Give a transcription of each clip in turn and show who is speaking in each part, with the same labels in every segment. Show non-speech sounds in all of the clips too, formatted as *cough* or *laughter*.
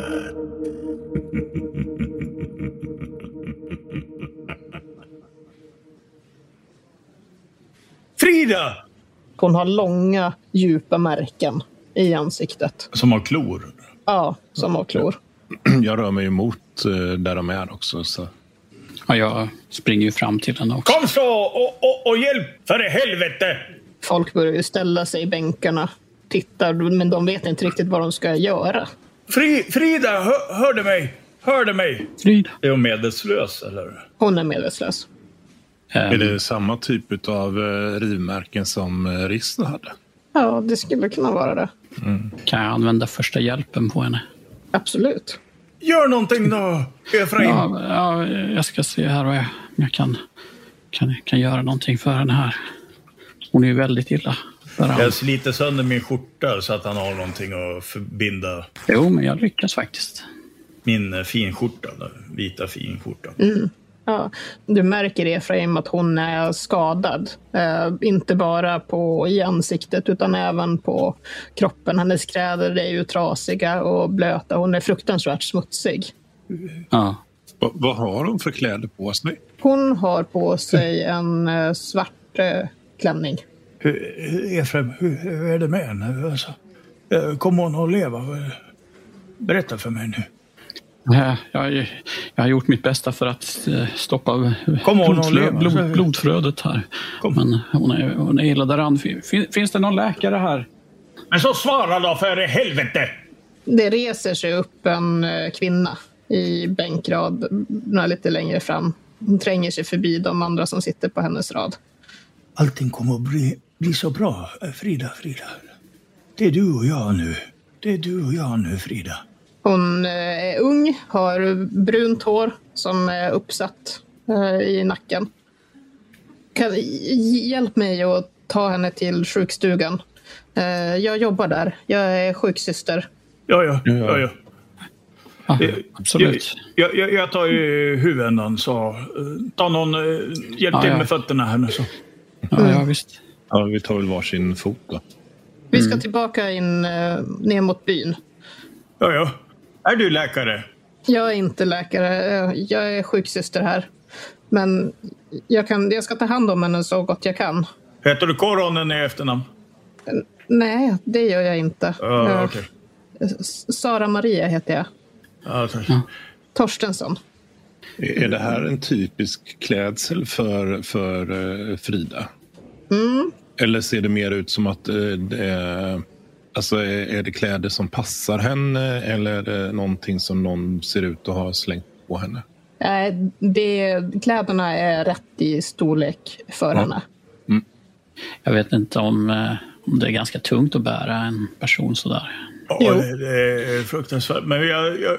Speaker 1: Skräckblandat. Frida!
Speaker 2: Hon har långa, djupa märken i ansiktet.
Speaker 3: Som har klor.
Speaker 2: Ja, som har klor.
Speaker 3: Jag rör mig emot eh, där de är också. Så.
Speaker 4: Ja, jag springer ju fram till henne också.
Speaker 1: Kom så och, och, och hjälp för i helvete!
Speaker 2: Folk börjar ju ställa sig i bänkarna, tittar, men de vet inte riktigt vad de ska göra.
Speaker 1: Fri, Frida, hör, hör du mig? Hör du mig?
Speaker 4: Frida.
Speaker 1: Är hon medvetslös eller?
Speaker 2: Hon är medvetslös.
Speaker 4: Ehm,
Speaker 3: Är det samma typ av rivmärken som eh, Rista hade?
Speaker 2: Ja, det skulle kunna vara det.
Speaker 4: Kan jag använda första hjälpen på henne?
Speaker 2: Absolut.
Speaker 1: Gör någonting då, Efraim!
Speaker 4: Ja, ja, jag ska se här vad jag, om jag kan, kan, kan göra någonting för henne här. Hon är ju väldigt illa. För
Speaker 1: Jag sliter sönder min skjorta så att han har någonting att förbinda
Speaker 4: Jo, men jag lyckas faktiskt.
Speaker 1: min eh, finskjorta. den Vita finskjortan.
Speaker 2: Ja, du märker Efraim att hon är skadad. Eh, inte bara på, i ansiktet utan även på kroppen. Hennes kläder är ju trasiga och blöta. Hon är fruktansvärt smutsig.
Speaker 4: Ja.
Speaker 3: Va, vad har de för kläder på sig?
Speaker 2: Hon har på sig en eh, svart eh, klänning.
Speaker 1: Hur, hur- Efraim, hur, hur är det med henne? Alltså, eh, kommer hon att leva? Berätta för mig nu.
Speaker 4: Eh, Jag, har ju- jag har gjort mitt bästa för att eh, stoppa
Speaker 1: Kom hon och
Speaker 4: blodflö,
Speaker 1: lever, så är
Speaker 4: blod,
Speaker 1: vi-
Speaker 4: blodflödet här.
Speaker 1: Kom.
Speaker 4: Men hon är, hon är illa däran. Fin- fin- Finns det någon läkare här?
Speaker 1: Men så svara då för i helvete!
Speaker 2: Det reser sig upp en eh, kvinna i bänkrad några lite längre fram. Hon tränger sig förbi de andra som sitter på hennes rad.
Speaker 1: Allting kommer att bli, bli så bra, eh, Frida, Frida. Det är du och jag nu. Det är du och jag nu, Frida.
Speaker 2: Hon eh, är ung, har brunt hår som är uppsatt eh, i nacken. Kan, hj- hjälp mig att ta henne till sjukstugan. Eh, Jag jobbar där. Jag är sjuksyster.
Speaker 1: Ja, ja, ja, ja.
Speaker 4: Ja,
Speaker 1: Eh,
Speaker 4: absolut.
Speaker 1: Jag, jag, jag tar ju huvudändan så. eh, Ta någon, eh, hjälp
Speaker 4: Ja,
Speaker 1: till
Speaker 4: ja.
Speaker 1: med fötterna här nu så. eh,
Speaker 4: Ja, ja, visst.
Speaker 3: Ja, vi tar väl varsin fot då.
Speaker 2: Vi ska tillbaka in eh, ner mot byn.
Speaker 1: Ja, ja. Är du läkare?
Speaker 2: Jag är inte läkare. Eh, Jag är sjuksyster här. Men jag, kan, jag ska ta hand om henne så gott jag kan.
Speaker 1: Heter du Koronen i efternamn?
Speaker 2: Nej, det gör jag inte.
Speaker 1: Ja,
Speaker 2: Eh,
Speaker 1: Ah, okej.
Speaker 2: S- Sara Maria heter jag.
Speaker 1: Ja, tack.
Speaker 2: Torstensson.
Speaker 3: Är är det här en typisk klädsel för, för eh, Frida? Eller ser det mer ut som att eh, det är, alltså är, är det kläder som passar henne eller är det någonting som någon ser ut att ha slängt på henne?
Speaker 2: Nej, det, kläderna är rätt i storlek för henne.
Speaker 4: Jag vet inte om, eh, om det är ganska tungt att bära en person sådär.
Speaker 1: Ja,
Speaker 2: Jo.
Speaker 1: det, det är fruktansvärt. Men jag, jag,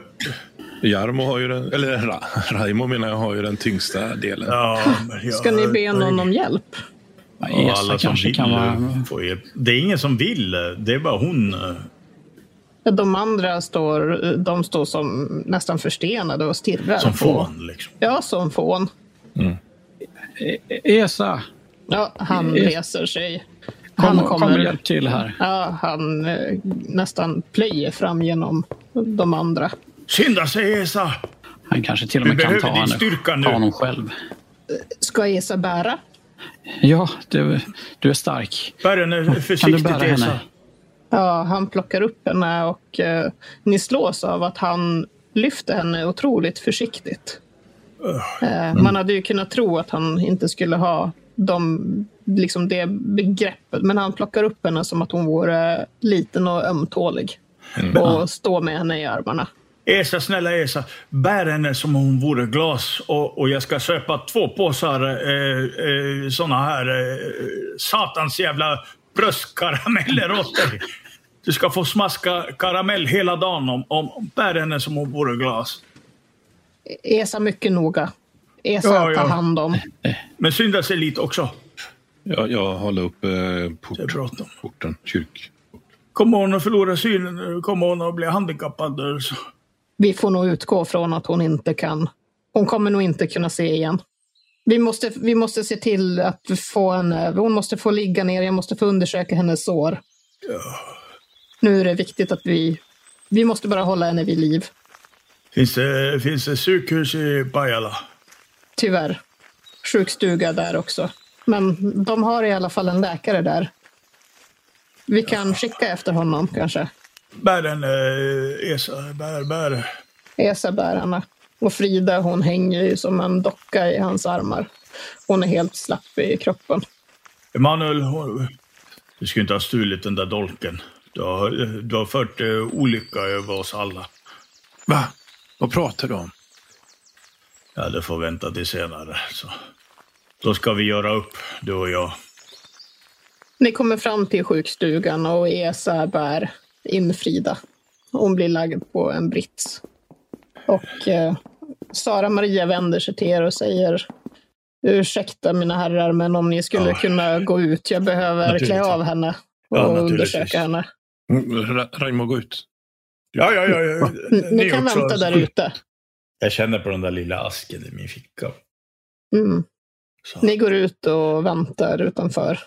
Speaker 3: Jarmo har ju den, eller Ra, Raimo menar jag, har ju den tyngsta delen.
Speaker 1: ja, men jag
Speaker 2: Ska ni be någon om hjälp?
Speaker 4: Ja,
Speaker 1: Och
Speaker 4: Esa
Speaker 1: alla som
Speaker 4: kanske
Speaker 1: vill
Speaker 4: kan
Speaker 1: eh,
Speaker 4: vara...
Speaker 1: får hjälp. Det är ingen som vill. eh, Det är bara hon. eh.
Speaker 2: De andra står, de står som nästan förstenade och stirrar.
Speaker 1: Som
Speaker 2: på-
Speaker 1: fån liksom.
Speaker 2: Ja, som fån.
Speaker 4: E- Esa,
Speaker 2: Ja, han
Speaker 4: Yes.
Speaker 2: reser sig.
Speaker 4: kom,
Speaker 2: Han
Speaker 4: och- kom och
Speaker 2: kommer.
Speaker 4: hjälp till här.
Speaker 2: Ja, han eh, nästan plöjer fram genom de andra.
Speaker 1: Skynda sig Esa!
Speaker 4: Han kanske till och med
Speaker 1: Vi
Speaker 4: kan
Speaker 1: behöver
Speaker 4: ta
Speaker 1: din
Speaker 4: henne,
Speaker 1: styrka nu.
Speaker 4: ta honom själv.
Speaker 2: Ska Esa bära?
Speaker 4: Ja, du, du är stark.
Speaker 1: Bär henne försiktigt
Speaker 4: bära henne?
Speaker 1: Esa.
Speaker 2: Ja, han plockar upp henne och eh, ni slås av att han lyfter henne otroligt försiktigt. Eh, man hade ju kunnat tro att han inte skulle ha de, liksom det begreppet, men han plockar upp henne som att hon vore liten och ömtålig
Speaker 1: Mm.
Speaker 2: och står med henne i armarna.
Speaker 1: Esa, snälla Esa. Bär henne som om hon vore glas och, och jag ska köpa två påsar eh, eh, såna här eh, satans jävla bröstkarameller åt dig. Du ska få smaska karamell hela dagen om, om om- bär henne som om hon vore glas.
Speaker 2: Esa mycket noga. Esa
Speaker 1: Ja, ja.
Speaker 2: tar hand om.
Speaker 1: Men skynda sig lite också.
Speaker 3: Jag, jag håller upp eh, port,
Speaker 1: Det är bråttom.
Speaker 3: porten, kyrk.
Speaker 1: Kommer hon att förlora synen? Kommer hon att bli handikappad? Så.
Speaker 2: Vi får nog utgå från att hon inte kan. Hon kommer nog inte kunna se igen. Vi måste, vi måste se till att få henne, hon måste få ligga ner, jag måste få undersöka hennes sår.
Speaker 1: Ja.
Speaker 2: Nu är det viktigt att vi, vi måste bara hålla henne vid liv.
Speaker 1: Finns det, finns det sjukhus i Pajala?
Speaker 2: Tyvärr. Sjukstuga där också. Men de har i alla fall en läkare där. Vi kan skicka efter honom kanske.
Speaker 1: Bär den, eh, Esa. Bär, bär.
Speaker 2: Esa bär henne. Och Frida hon hänger ju som en docka i hans armar. Hon är helt slapp i kroppen.
Speaker 1: Emanuel, hon- du skulle inte ha stulit den där dolken. Du har, du har fört eh, olycka över oss alla.
Speaker 3: Va? Vad pratar du om?
Speaker 1: Ja, det får vänta till senare. Så. Då ska vi göra upp, du och jag.
Speaker 2: Ni kommer fram till sjukstugan och Esa bär in Frida. Hon blir lagd på en brits. Och eh, Sara Maria vänder sig till er och säger Ursäkta mina herrar, men om ni skulle
Speaker 1: Ja.
Speaker 2: kunna gå ut. Jag behöver
Speaker 3: Naturligtvis.
Speaker 2: klä av henne och
Speaker 1: Ja, naturligtvis.
Speaker 2: undersöka henne.
Speaker 3: Mm, Ra- Raimo, gå ut.
Speaker 1: Ja, ja, ja. ja.
Speaker 3: *laughs*
Speaker 2: Ni, ni kan
Speaker 1: också.
Speaker 2: vänta där ute.
Speaker 1: Jag känner på den där lilla asken i min ficka.
Speaker 2: Mm.
Speaker 1: Så.
Speaker 2: Ni går ut och väntar utanför.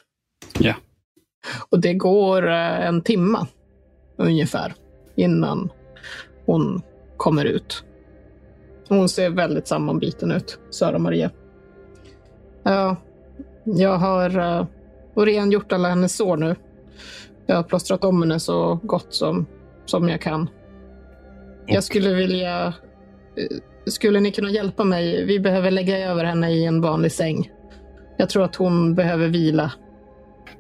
Speaker 4: Ja.
Speaker 2: Och det går eh, en timma ungefär innan hon kommer ut. Hon ser väldigt sammanbiten ut, Sara Maria. Ja, jag har eh, Orén gjort alla hennes sår nu. Jag har plåstrat om henne så gott som, som jag kan. Jag skulle vilja... eh, Skulle ni kunna hjälpa mig? Vi behöver lägga över henne i en vanlig säng. Jag tror att hon behöver vila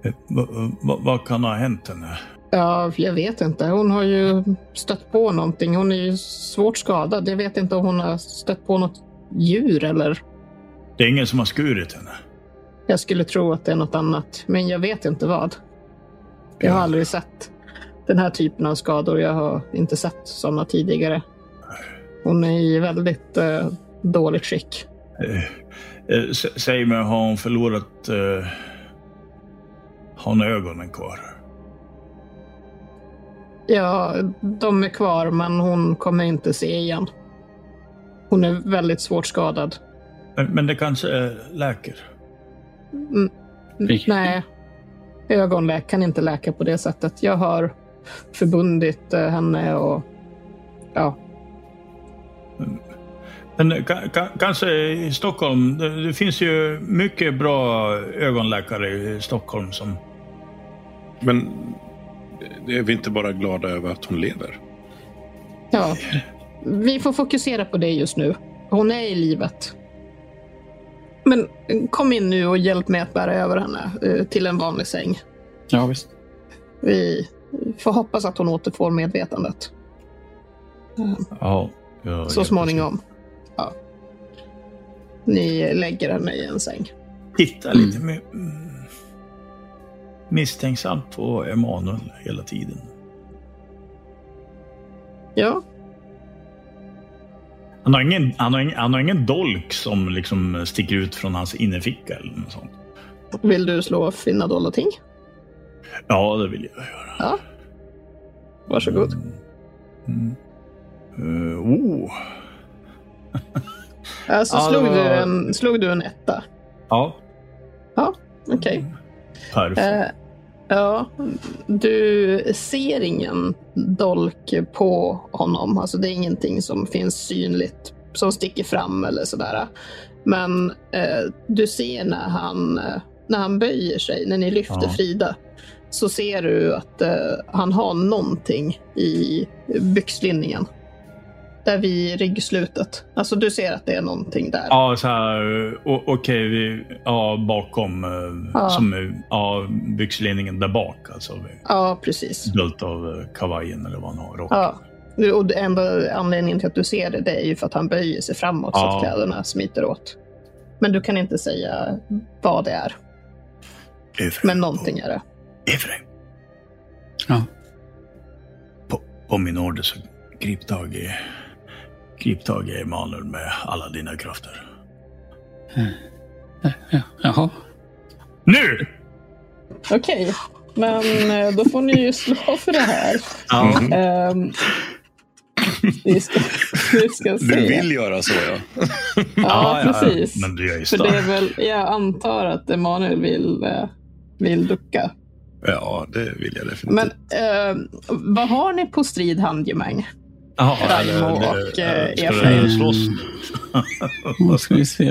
Speaker 1: Eh, Va- va- vad kan ha hänt henne?
Speaker 2: Ja, jag vet inte. Hon har ju stött på någonting. Hon är ju svårt skadad. Jag vet inte om hon har stött på något djur eller...
Speaker 1: Det är ingen som har skurit henne.
Speaker 2: Jag skulle tro att det är något annat, men jag vet inte vad. Jag har
Speaker 1: Ja.
Speaker 2: aldrig sett den här typen av skador. Jag har inte sett sådana tidigare. Hon är i väldigt eh, dåligt skick.
Speaker 1: Eh, eh, s- Säg mig, har hon förlorat... Eh, har hon ögonen kvar?
Speaker 2: Ja, de är kvar, men hon kommer inte se igen. Hon är väldigt svårt skadad.
Speaker 1: Men, men det kanske eh, läker?
Speaker 2: Mm,
Speaker 4: Fick-
Speaker 2: Nej, ögonläkaren kan inte läka på det sättet. Jag har förbundit eh, henne och ja,
Speaker 1: Men eh, ka, ka, kanske i Stockholm? Det, det finns ju mycket bra ögonläkare i Stockholm som...
Speaker 3: Men eh, är vi inte bara glada över att hon lever?
Speaker 2: ja. Vi får fokusera på det just nu. Hon är i livet. Men eh, kom in nu och hjälp mig att bära över henne eh, till en vanlig säng.
Speaker 4: Ja, visst.
Speaker 2: Vi får hoppas att hon återfår medvetandet
Speaker 1: Ja. ja,
Speaker 2: så småningom. Ja. Ni lägger henne i en säng.
Speaker 1: Titta lite mer, mm, misstänksamt på Emanuel hela tiden.
Speaker 2: Ja,
Speaker 1: Han har, ingen, han, har ingen, han har ingen dolk som liksom sticker ut från hans innerficka eller något sånt.
Speaker 2: vill du slå finna dolda ting?
Speaker 1: Ja, det vill jag göra.
Speaker 2: Ja. Varsågod.
Speaker 1: Mm. Eh, oh.
Speaker 2: Alltså,
Speaker 1: Ja, det
Speaker 2: slog,
Speaker 1: var-
Speaker 2: du en, slog du en etta?
Speaker 1: Ja,
Speaker 2: Okej.
Speaker 1: perfekt.
Speaker 2: Eh, ja, du ser ingen dolk på honom. Alltså det är ingenting som finns synligt, som sticker fram eller sådär. Men eh, du ser när han, eh, när han böjer sig, när ni lyfter
Speaker 1: Ja.
Speaker 2: Frida, så ser du att eh, han har någonting i byxlinningen. Där vid ryggslutet. Alltså du ser att det är någonting där.
Speaker 1: Ja, så här. o- Okej, vi... Ja, bakom. eh,
Speaker 2: Ja.
Speaker 1: Som, eh, ja, byxlinningen där bak. Alltså,
Speaker 2: ja precis.
Speaker 1: dolt av eh, kavajen eller vad han har. rocken.
Speaker 2: Ja. Du- Och det enda anledningen till att du ser det, det är ju för att han böjer sig framåt så
Speaker 1: Ja.
Speaker 2: att kläderna smiter åt. Men du kan inte säga vad det är.
Speaker 1: Efraim,
Speaker 2: Men någonting är det.
Speaker 1: på- Efraim,
Speaker 4: Ja.
Speaker 1: på, på min order så grip tag i... Grip tag i Emanuel med alla dina krafter.
Speaker 4: Ja, Jaha.
Speaker 1: Nu!
Speaker 2: Okej. Men eh, då får ni ju slå för det här.
Speaker 5: Ja.
Speaker 1: Mm.
Speaker 3: Mm.
Speaker 2: Ehm, vi ska, vi ska se.
Speaker 3: Du vill göra så ja.
Speaker 2: Ja, precis.
Speaker 1: Men du är ju
Speaker 2: För det är
Speaker 1: stark.
Speaker 2: väl, jag antar att Emanuel vill, eh, vill ducka.
Speaker 3: Ja, det vill jag definitivt.
Speaker 2: Men eh, vad har ni på strid handgemäng?
Speaker 5: Jaha,
Speaker 2: Raimo och eh,
Speaker 1: Ska
Speaker 2: Efraim.
Speaker 1: du slåss?
Speaker 4: *laughs* Nu ska vi se.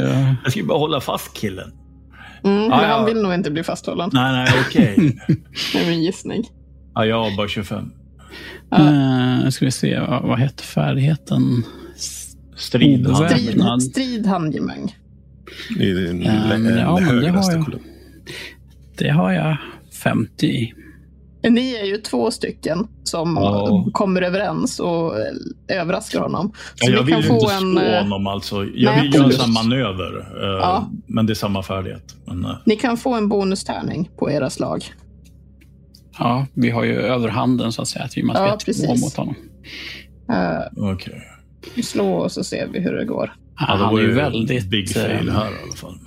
Speaker 5: jag ska ju bara hålla fast killen.
Speaker 2: Mm,
Speaker 5: Ja,
Speaker 2: men
Speaker 5: ja.
Speaker 2: han vill nog inte bli fasthållen.
Speaker 5: Nej, nej, okej.
Speaker 4: *laughs*
Speaker 2: Det är min gissning.
Speaker 5: Ja, jag har bara 25.
Speaker 4: Eh, ska vi se, vad, vad hette färdigheten?
Speaker 5: Strid.
Speaker 4: Obeväpnad.
Speaker 2: Strid,
Speaker 4: Väpnad.
Speaker 2: strid handgemäng.
Speaker 3: I den
Speaker 4: Mm, Ja, men
Speaker 3: lä-
Speaker 4: ja, men det
Speaker 3: högra
Speaker 4: har
Speaker 3: nästa
Speaker 4: jag.
Speaker 3: kolumn.
Speaker 4: Det har jag 50 i.
Speaker 2: Ni är ju två stycken som
Speaker 5: Ja.
Speaker 2: kommer överens och eh, överraskar honom.
Speaker 5: Ja,
Speaker 2: Så
Speaker 5: jag
Speaker 2: vi
Speaker 5: vill
Speaker 2: kan
Speaker 5: ju
Speaker 2: få
Speaker 5: inte
Speaker 2: en...
Speaker 5: slå
Speaker 2: eh,
Speaker 5: honom alltså. Jag
Speaker 2: Nej,
Speaker 5: vill göra
Speaker 2: bonus.
Speaker 5: samma manöver. eh,
Speaker 2: Ja.
Speaker 5: Men det är samma färdighet. Men, eh,
Speaker 2: Ni kan få en bonustärning på era slag.
Speaker 4: Ja, vi har ju överhanden så att säga. I och med att
Speaker 2: Ja,
Speaker 4: vi är två
Speaker 2: precis.
Speaker 4: mot honom.
Speaker 2: Eh,
Speaker 5: okej.
Speaker 2: slå och så ser vi hur det går.
Speaker 4: Ja,
Speaker 5: det
Speaker 4: han
Speaker 5: var
Speaker 4: är ju
Speaker 5: ju
Speaker 4: väldigt,
Speaker 5: Big fail
Speaker 4: eh,
Speaker 5: här i alla fall.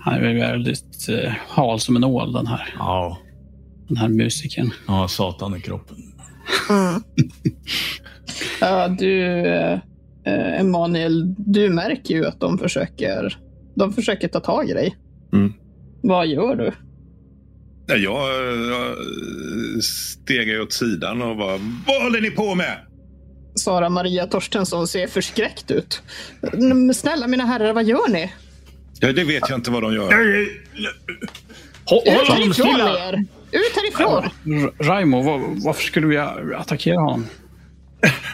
Speaker 4: han är ju väldigt eh, hal som en ål den här,
Speaker 5: Ja,
Speaker 4: den här musikern.
Speaker 5: ja satan i kroppen.
Speaker 2: Ja, du, eh, eh, Emanuel, du märker ju att de försöker, de försöker ta tag i dig.
Speaker 3: Mm.
Speaker 2: Vad gör du?
Speaker 3: Nej, Jag, jag stegar ju åt sidan och bara, vad håller ni på med?
Speaker 2: Sara Maria Torstensson ser förskräckt ut. Men Snälla mina herrar, vad gör ni?
Speaker 3: Ja, det vet jag inte vad de
Speaker 1: Eh,
Speaker 3: gör.
Speaker 5: Håll
Speaker 2: Ut
Speaker 5: honom
Speaker 2: härifrån
Speaker 5: stilla!
Speaker 2: er! Ut härifrån!
Speaker 4: R- Raimo, var, varför skulle vi attackera honom?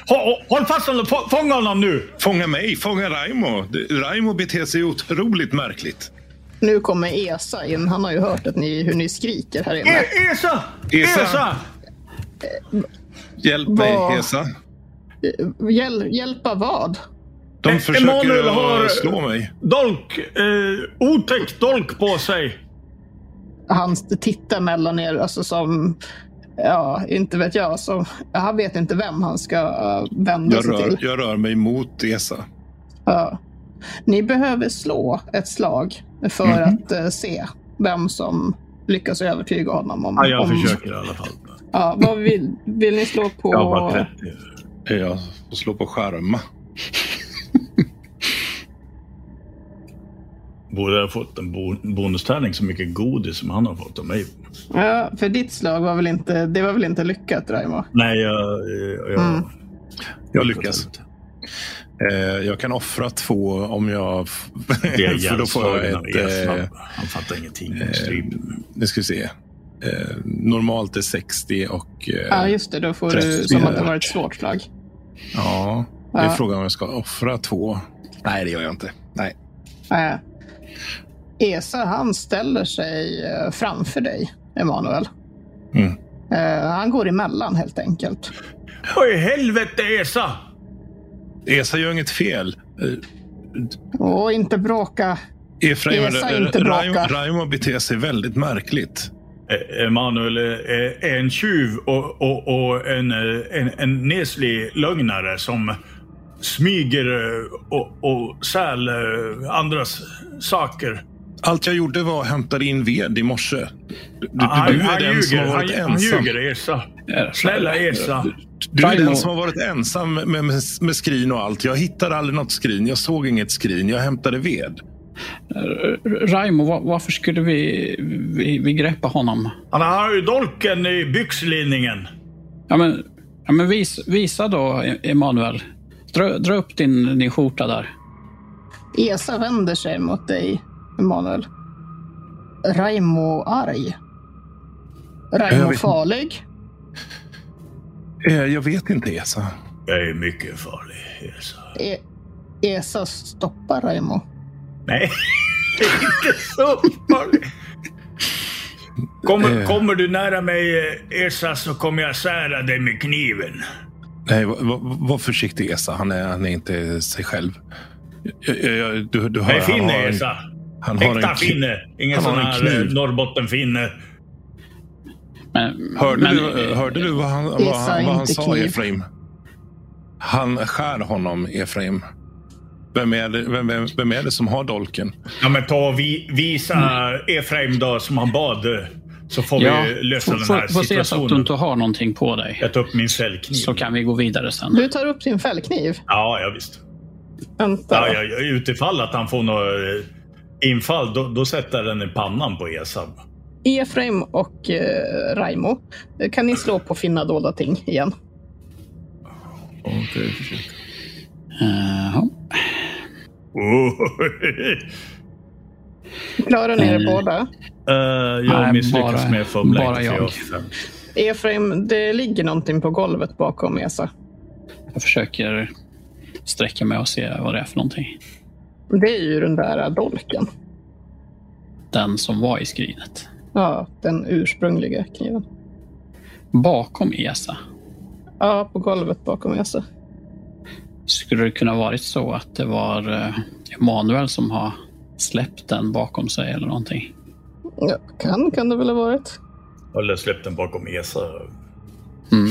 Speaker 1: Hå- Håll fast honom! Få- Fånga honom nu! E-,
Speaker 3: Fånga mig, fånga Raimo. Det- Raimo beter sig otroligt märkligt.
Speaker 2: Nu kommer Esa in. Han har ju hört att ni, hur ni skriker här inne.
Speaker 1: E- Esa!
Speaker 3: Esa!
Speaker 1: Esa!
Speaker 3: Hjälp
Speaker 2: Vad?
Speaker 3: mig, Hesa.
Speaker 2: Hjäl, hjälpa vad?
Speaker 3: De
Speaker 4: E-
Speaker 1: Eh,
Speaker 3: försöker
Speaker 1: Emanuel
Speaker 3: att
Speaker 1: har-
Speaker 3: slå mig.
Speaker 1: Dolk! Eh, otäck dolk på sig.
Speaker 2: Han tittar mellan er, alltså som... Ja, inte vet jag. Som, han vet inte vem han ska eh, vända
Speaker 3: Jag
Speaker 2: sig till.
Speaker 3: rör, jag rör mig mot Esa.
Speaker 2: Ja. Ni behöver slå ett slag för
Speaker 5: Mhm.
Speaker 2: att eh, se vem som lyckas övertyga honom. Om,
Speaker 5: Ja, jag
Speaker 2: om,
Speaker 5: försöker i alla fall.
Speaker 2: Ja, vad vill, vill ni slå på?
Speaker 5: Jag var 30.
Speaker 3: Jag får slå på skärma.
Speaker 5: Borde ha fått en bon- bonustärning så mycket godis som han har fått av mig.
Speaker 2: Ja, för ditt slag var väl inte, det var väl inte lyckat, Raimo?
Speaker 5: Nej, jag... eh, jag
Speaker 2: Mm.
Speaker 3: Jag lyckas. Eh, jag kan offra två om jag... f-
Speaker 5: Det är
Speaker 3: *laughs* För då får jag
Speaker 5: hjärnslagen av
Speaker 3: ett... Eh,
Speaker 5: Eslan. Han fattar ingenting. Han stryper mig.
Speaker 3: nu ska vi se. Eh, normalt är 60 och... Eh,
Speaker 2: Ja, just det. Då får du
Speaker 3: 30.
Speaker 2: som att det var ett svårt slag.
Speaker 3: Ja, det är
Speaker 2: Ja.
Speaker 3: frågan om jag ska offra två. Nej, det gör jag inte. Nej.
Speaker 2: Eh, Esa, han ställer sig eh, framför dig, Emanuel.
Speaker 3: Mm.
Speaker 2: Eh, han går emellan helt enkelt.
Speaker 1: Vad i helvete Esa!
Speaker 3: Esa gör inget fel. Eh,
Speaker 2: Och inte bråka.
Speaker 3: Efraim,
Speaker 2: Esa inte
Speaker 3: Ra- Raimo-
Speaker 2: bråka.
Speaker 3: Raimo beter sig väldigt märkligt.
Speaker 1: Eh, Emanuel eh, är en tjuv och, och, och en, eh, en, en neslig lögnare som smyger eh, och, och stjäl eh, andras saker.
Speaker 3: Allt jag gjorde var att hämta in ved i morse. Du, du,
Speaker 1: Han,
Speaker 3: du är
Speaker 1: Ah, han,
Speaker 3: den som har
Speaker 1: ljuger,
Speaker 3: varit
Speaker 1: han, han
Speaker 3: ensam.
Speaker 1: ljuger Esa.
Speaker 4: Eh,
Speaker 1: Snälla Esa.
Speaker 3: Du är
Speaker 4: Raimo.
Speaker 3: den som har varit ensam med, med, med skrin och allt. Jag hittade aldrig något skrin. Jag såg inget skrin. Jag hämtade ved.
Speaker 4: R- Raimo, var, varför skulle vi, vi, vi greppa honom?
Speaker 1: Han har ju dolken i byxlinningen.
Speaker 4: Ja, men, ja, men vis, visa då, E- Emanuel. Dra, dra upp din, din skjorta där.
Speaker 2: Esa vänder sig mot dig, Emanuel. Raimo arg.
Speaker 3: Jag
Speaker 2: Raimo
Speaker 3: vet-
Speaker 2: farlig.
Speaker 3: Eh, Jag vet inte, Esa.
Speaker 1: Jag är mycket farlig Esa.
Speaker 2: E- Esa stoppar Raimo.
Speaker 1: Nej, *laughs* det är inte så farligt. Kommer,
Speaker 3: Eh.
Speaker 1: kommer du nära mig eh, Esa så kommer jag sära dig med kniven.
Speaker 3: Nej, var, var, var försiktig, Esa. Han är, han är inte sig själv. Jag, jag, jag, du, du hör,
Speaker 1: Jag är
Speaker 3: han
Speaker 1: finne
Speaker 3: har en,
Speaker 1: Esa.
Speaker 3: han har en
Speaker 1: Äkta
Speaker 3: kniv.
Speaker 1: finne. Ingen
Speaker 3: han
Speaker 1: sån
Speaker 3: har en
Speaker 1: här eh,
Speaker 3: kniv.
Speaker 1: Norrbotten-finne.
Speaker 4: Men,
Speaker 3: Hörde,
Speaker 4: men,
Speaker 1: eh,
Speaker 3: du, hörde du vad han, vad
Speaker 2: Esa
Speaker 3: han, vad han
Speaker 2: inte
Speaker 3: sa,
Speaker 2: kniv.
Speaker 3: Efraim? Han skär honom, Efraim. Vem är, det, vem, vem, vem är det som har dolken?
Speaker 1: Ja, men ta och vi, visa Efraim då som han bad eh, Så får vi lösa den här
Speaker 4: får se så att du
Speaker 1: situationen.
Speaker 4: inte har någonting på dig.
Speaker 1: Jag tar upp min fällkniv.
Speaker 4: Så kan vi gå vidare sen.
Speaker 2: Du tar upp din fällkniv.
Speaker 1: Ja, ja visst.
Speaker 2: Vänta.
Speaker 1: Ja, ja, ja, utifall att han får något eh, infall, då, då sätter jag den i pannan på *laughs* Esab.
Speaker 2: Efraim och eh, Raimo, eh, kan ni slå på finna dolda ting igen?
Speaker 3: Okej, försök.
Speaker 4: Eh, ja.
Speaker 1: Oh.
Speaker 2: Klarar ni er båda?
Speaker 1: Eh, jag
Speaker 4: Nej,
Speaker 1: misslyckas
Speaker 4: bara-
Speaker 1: med att fumla.
Speaker 4: bara
Speaker 1: inte för
Speaker 4: jag.
Speaker 1: fem.
Speaker 2: Efraim, det ligger någonting på golvet bakom Esa.
Speaker 4: Jag försöker sträcka mig och se vad det är för någonting.
Speaker 2: Det är ju den där dolken.
Speaker 4: Den som var i skrinet.
Speaker 2: Ja, den ursprungliga kniven.
Speaker 4: Bakom Esa
Speaker 2: Ja, på golvet bakom Esa.
Speaker 4: skulle det kunna varit så att det var eh, Emanuel som har släppt den bakom sig eller någonting.
Speaker 2: Ja, kan, kan det väl ha varit.
Speaker 1: Eller släpp den bakom Esa
Speaker 4: Mm.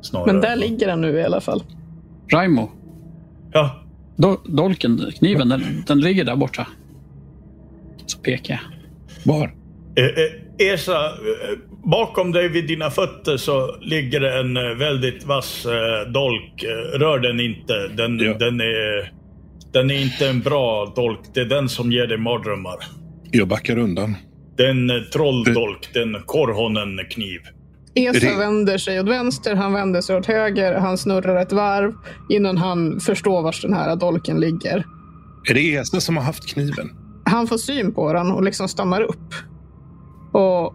Speaker 1: snarare.
Speaker 2: Men där ligger den nu i alla fall.
Speaker 4: Raimo,
Speaker 1: Ja,
Speaker 4: do- dolken, kniven, den, den ligger där borta. Så pekar jag.
Speaker 3: Var?
Speaker 1: Eh, eh, Esa, eh, bakom dig vid dina fötter så ligger det en eh, väldigt vass eh, dolk. Eh, Rör den inte. Den,
Speaker 3: Ja.
Speaker 1: den, är, den är inte en bra dolk. Det är den som ger dig mardrömmar.
Speaker 3: Jag backar undan.
Speaker 1: Det är en eh, trolldolk. Det är en Korhonen-kniv.
Speaker 2: Esa
Speaker 3: Ring.
Speaker 2: vänder sig åt vänster, han vänder sig åt höger, han snurrar ett varv innan han förstår var den här dolken ligger.
Speaker 3: Är det Esa som har haft kniven?
Speaker 2: Han får syn på den och liksom stannar upp. Och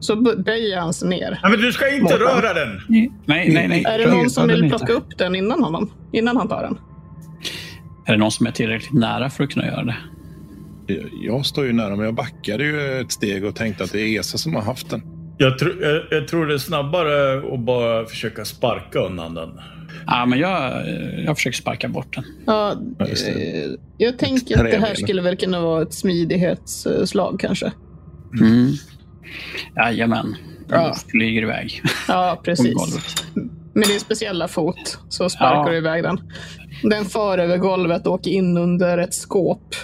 Speaker 2: så b- böjer han sig ner.
Speaker 1: Nej, men du ska inte
Speaker 2: Morfar.
Speaker 1: röra den!
Speaker 4: Nej, nej, nej.
Speaker 2: Är det
Speaker 4: rör-
Speaker 2: någon som
Speaker 4: rör den
Speaker 2: vill
Speaker 4: inte.
Speaker 2: plocka upp den innan honom? Innan han tar den?
Speaker 4: Är det någon som är tillräckligt nära för att kunna göra det?
Speaker 3: Jag- Jag står ju nära, men jag backade ju ett steg och tänkte att det är Esa som har haft den.
Speaker 1: Jag, tr- jag, jag tror det är snabbare att bara försöka sparka undan den.
Speaker 4: Ja, men jag, eh, jag försöker sparka bort den.
Speaker 2: Ja,
Speaker 3: Ja, just det.
Speaker 2: eh, jag tänker att det här
Speaker 3: Träben.
Speaker 2: skulle väl kunna vara ett smidighetsslag kanske.
Speaker 4: Mm. Jajamän. Den
Speaker 2: Ja.
Speaker 4: flyger iväg.
Speaker 2: Ja, precis.
Speaker 4: Precis. Golvet.
Speaker 2: Med din speciella fot så sparkar
Speaker 4: Ja.
Speaker 2: du iväg den. Den far över golvet och åker in under ett skåp.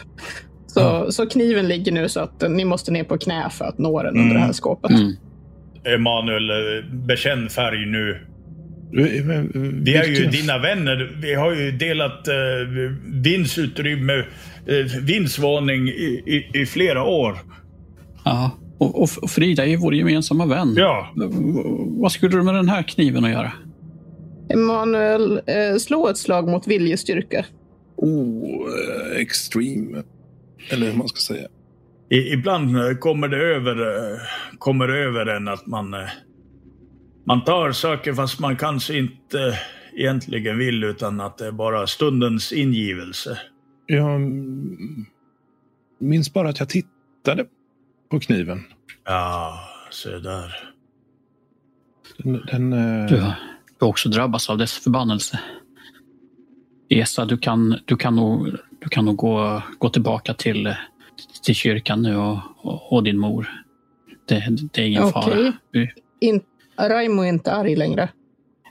Speaker 2: Så, så kniven ligger nu så att eh, ni måste ner på knä för att nå den under det här skåpet.
Speaker 4: Mm.
Speaker 1: Emanuel, eh, bekänn färg nu.
Speaker 3: Eh, men, eh,
Speaker 1: Vi är ju
Speaker 3: vilken-
Speaker 1: dina vänner. Vi har ju delat eh, Vins utrymme, eh, Vins våning i, i, i flera år.
Speaker 4: Ja. Och, och, och Frida är ju vår gemensamma vän.
Speaker 1: Ja.
Speaker 4: V- v- Vad skulle du med den här kniven att göra?
Speaker 2: Emanuel, eh, slå ett slag mot viljestyrka.
Speaker 3: Oh, eh, extreme. Eller hur man ska säga.
Speaker 1: I, ibland eh, kommer det över, eh, kommer det över en att man, eh, man tar saker fast man kanske inte eh, egentligen vill utan att det är bara stundens ingivelse.
Speaker 3: Jag mm, minns bara att jag tittade på kniven.
Speaker 1: Ja, se där.
Speaker 3: Den, den, eh,
Speaker 4: Du har du har också drabbats av dess förbannelse. Esa, du kan, du kan nog, du kan nog gå, gå tillbaka till, till kyrkan nu och, och, och din mor. Det, det är ingen fara.
Speaker 2: Okej.
Speaker 4: Du,
Speaker 2: In, Raimo är inte arg längre.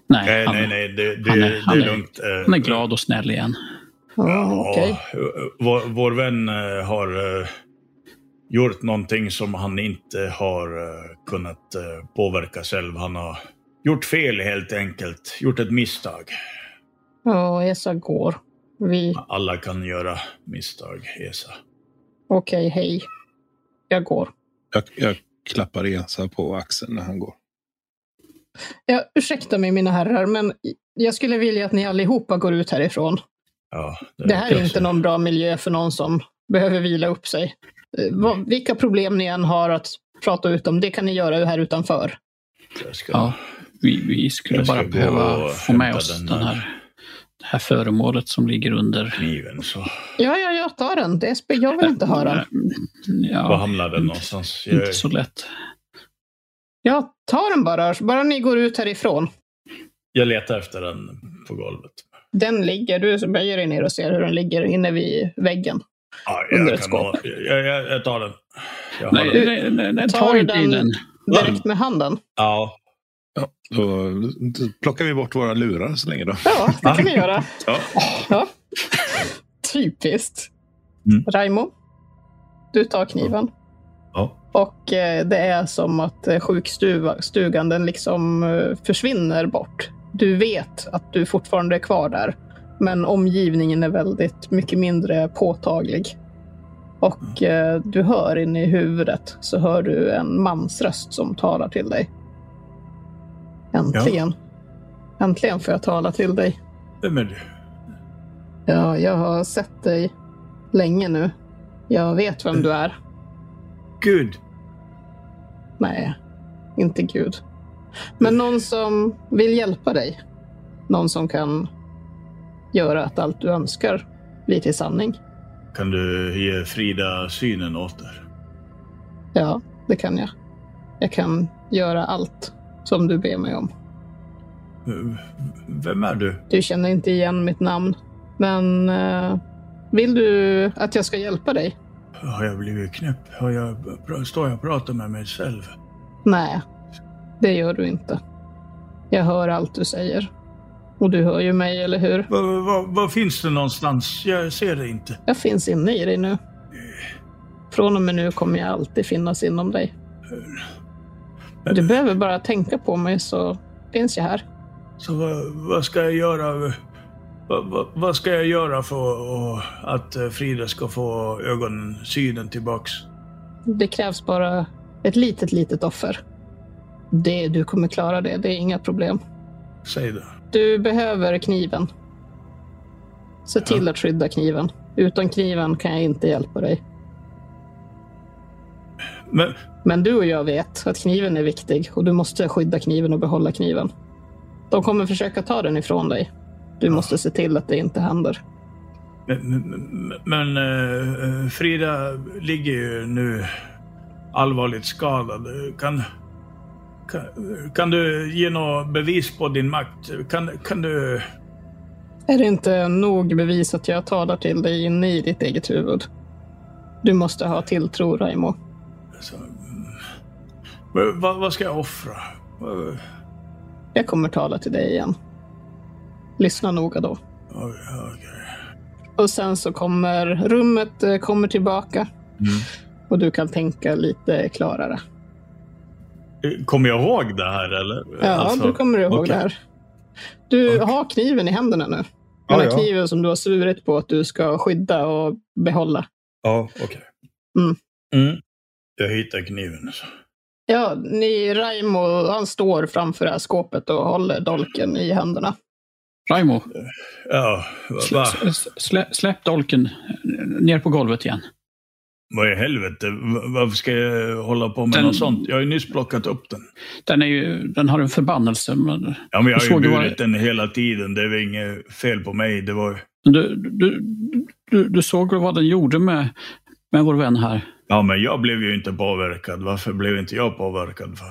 Speaker 4: nej,
Speaker 1: Nej,
Speaker 4: han,
Speaker 1: nej, nej. Det, det,
Speaker 4: han är-
Speaker 1: det
Speaker 4: han
Speaker 1: är
Speaker 4: är-
Speaker 1: lugnt. eh.
Speaker 4: han är glad och snäll igen.
Speaker 2: Ja,
Speaker 1: Ja,
Speaker 2: okej.
Speaker 1: vår, vår vän eh, har eh, gjort någonting som han inte har eh, kunnat eh, påverka själv. Han har gjort fel helt enkelt, gjort ett misstag.
Speaker 2: Ja, Esa går. Vi,
Speaker 1: Alla kan göra misstag, Esa.
Speaker 2: okej, hej. Jag går.
Speaker 3: jag, jag klappar Esa på axeln när han går.
Speaker 2: Ja, ursäkta mig mina herrar, men jag skulle vilja att ni allihopa går ut härifrån.
Speaker 1: Ja,
Speaker 2: Det här är inte någon bra miljö för någon som behöver vila upp sig. Eh, vad- Vilka problem ni än har att prata ut om, det kan ni göra här utanför.
Speaker 1: Jag ska-
Speaker 4: Ja, vi, vi skulle
Speaker 1: Jag ska
Speaker 4: bara
Speaker 1: gå
Speaker 4: behöva
Speaker 1: och
Speaker 4: få med
Speaker 1: hämta
Speaker 4: oss
Speaker 1: den
Speaker 4: den
Speaker 1: här.
Speaker 4: här, det här föremålet som ligger under.
Speaker 1: Kniven, så.
Speaker 2: Ja, ja, jag tar den. Det är spe- jag vill inte ha den.
Speaker 1: Var
Speaker 4: Mm, Ja,
Speaker 1: hamnar den någonstans? Jag,
Speaker 4: inte så lätt.
Speaker 2: Jag tar den bara, bara ni går ut härifrån.
Speaker 1: jag letar efter den på golvet.
Speaker 2: Den ligger, du böjer dig ner och ser hur den ligger inne vid väggen.
Speaker 1: Ja,
Speaker 2: Under ett
Speaker 1: jag, kan
Speaker 2: skåp.
Speaker 1: ha, jag, jag, jag tar den. Jag har den.
Speaker 4: Nej, nej, nej, nej
Speaker 2: Tar
Speaker 4: ta inte i
Speaker 2: den-
Speaker 4: den.
Speaker 2: Direkt med handen.
Speaker 1: Ja.
Speaker 3: Ja, då plockar vi bort våra lurar så länge då.
Speaker 2: Ja, det kan ni göra.
Speaker 1: Ja.
Speaker 2: Ja. Typiskt.
Speaker 1: Mm.
Speaker 2: Raimo, du tar kniven.
Speaker 1: Ja.
Speaker 2: Och eh, det är som att eh, sjukstugan den liksom eh, försvinner bort. Du vet att du fortfarande är kvar där, men omgivningen är väldigt mycket mindre påtaglig. Och eh, du hör in i huvudet så hör du en mans röst som talar till dig. Äntligen. Äntligen får jag tala till dig.
Speaker 6: Vem är du?
Speaker 2: Ja, jag har sett dig länge nu. Jag vet vem du är.
Speaker 6: Gud.
Speaker 2: Nej, inte Gud. Men någon som vill hjälpa dig. Någon som kan göra att allt du önskar blir till sanning.
Speaker 1: Kan du ge Frida synen åter?
Speaker 2: Ja, det kan jag. Jag kan göra allt som du ber mig om.
Speaker 1: V- Vem är du?
Speaker 2: Du känner inte igen mitt namn, men eh, vill du att jag ska hjälpa dig?
Speaker 1: Har jag blivit knäpp? Har jag, pra- står jag och pratar med mig själv?
Speaker 2: Nej, det gör du inte. Jag hör allt du säger. Och du hör ju mig, eller hur?
Speaker 1: Vad finns det någonstans? Jag ser det inte.
Speaker 2: Jag finns inne i dig nu. Från och med nu kommer jag alltid finnas inom dig. Du behöver bara tänka på mig så finns jag här.
Speaker 1: Så vad, vad ska jag göra? Vad, vad, vad ska jag göra för att- att eh, Frida ska få ögonsynen tillbaks?
Speaker 2: Det krävs bara ett litet, litet offer. Det, du kommer klara det, det är inga problem.
Speaker 1: Säg det.
Speaker 2: Du behöver kniven. Se till att skydda kniven. Utan kniven kan jag inte hjälpa dig.
Speaker 1: Men
Speaker 2: Men du och jag vet att kniven är viktig och du måste skydda kniven och behålla kniven. De kommer försöka ta den ifrån dig. Du måste se till att det inte händer.
Speaker 1: Men, men- men eh, Frida ligger ju nu allvarligt skadad. Kan, kan, kan du ge något bevis på din makt? Kan, kan du...
Speaker 2: Är det inte nog bevis att jag talar till dig inne i ditt eget huvud? Du måste ha tilltro, Raimo.
Speaker 1: Alltså, mm. Men vad, vad ska jag offra? Vad-
Speaker 2: Jag kommer tala till dig igen. Lyssna noga då.
Speaker 1: oj, okej.
Speaker 2: Och sen så kommer rummet eh, kommer tillbaka. Och du kan tänka lite klarare.
Speaker 6: Kommer jag ihåg det här eller?
Speaker 2: Ja,
Speaker 1: Alltså,
Speaker 4: Alltså,
Speaker 2: du kommer ihåg
Speaker 6: okej.
Speaker 2: det här. Du har kniven i händerna nu. Den
Speaker 7: Ja,
Speaker 2: här
Speaker 7: ja.
Speaker 2: kniven som du har svurit på att du ska skydda och behålla.
Speaker 7: Ja, okej.
Speaker 1: mm. Jag hittar kniven. alltså.
Speaker 2: Ja, ni, Raimo, han står framför det här skåpet och håller dolken i händerna.
Speaker 4: Raimo,
Speaker 1: Ja, va,
Speaker 4: slä,
Speaker 1: va,
Speaker 4: slä, slä, släpp dolken ner på golvet igen.
Speaker 1: vad i helvete? Va- Varför ska jag hålla på med
Speaker 4: Den-
Speaker 1: något sånt? Jag har ju nyss plockat upp den.
Speaker 4: Den, är ju, den har en förbannelse. Men
Speaker 1: Ja, men jag
Speaker 4: Du
Speaker 1: har ju
Speaker 4: såg ju vad-
Speaker 1: burit den hela tiden. Det var inget fel på mig. Det var
Speaker 4: du, du, du, du såg väl vad den gjorde med, med vår vän här?
Speaker 1: Ja, men jag blev ju inte påverkad. Varför blev inte jag påverkad för?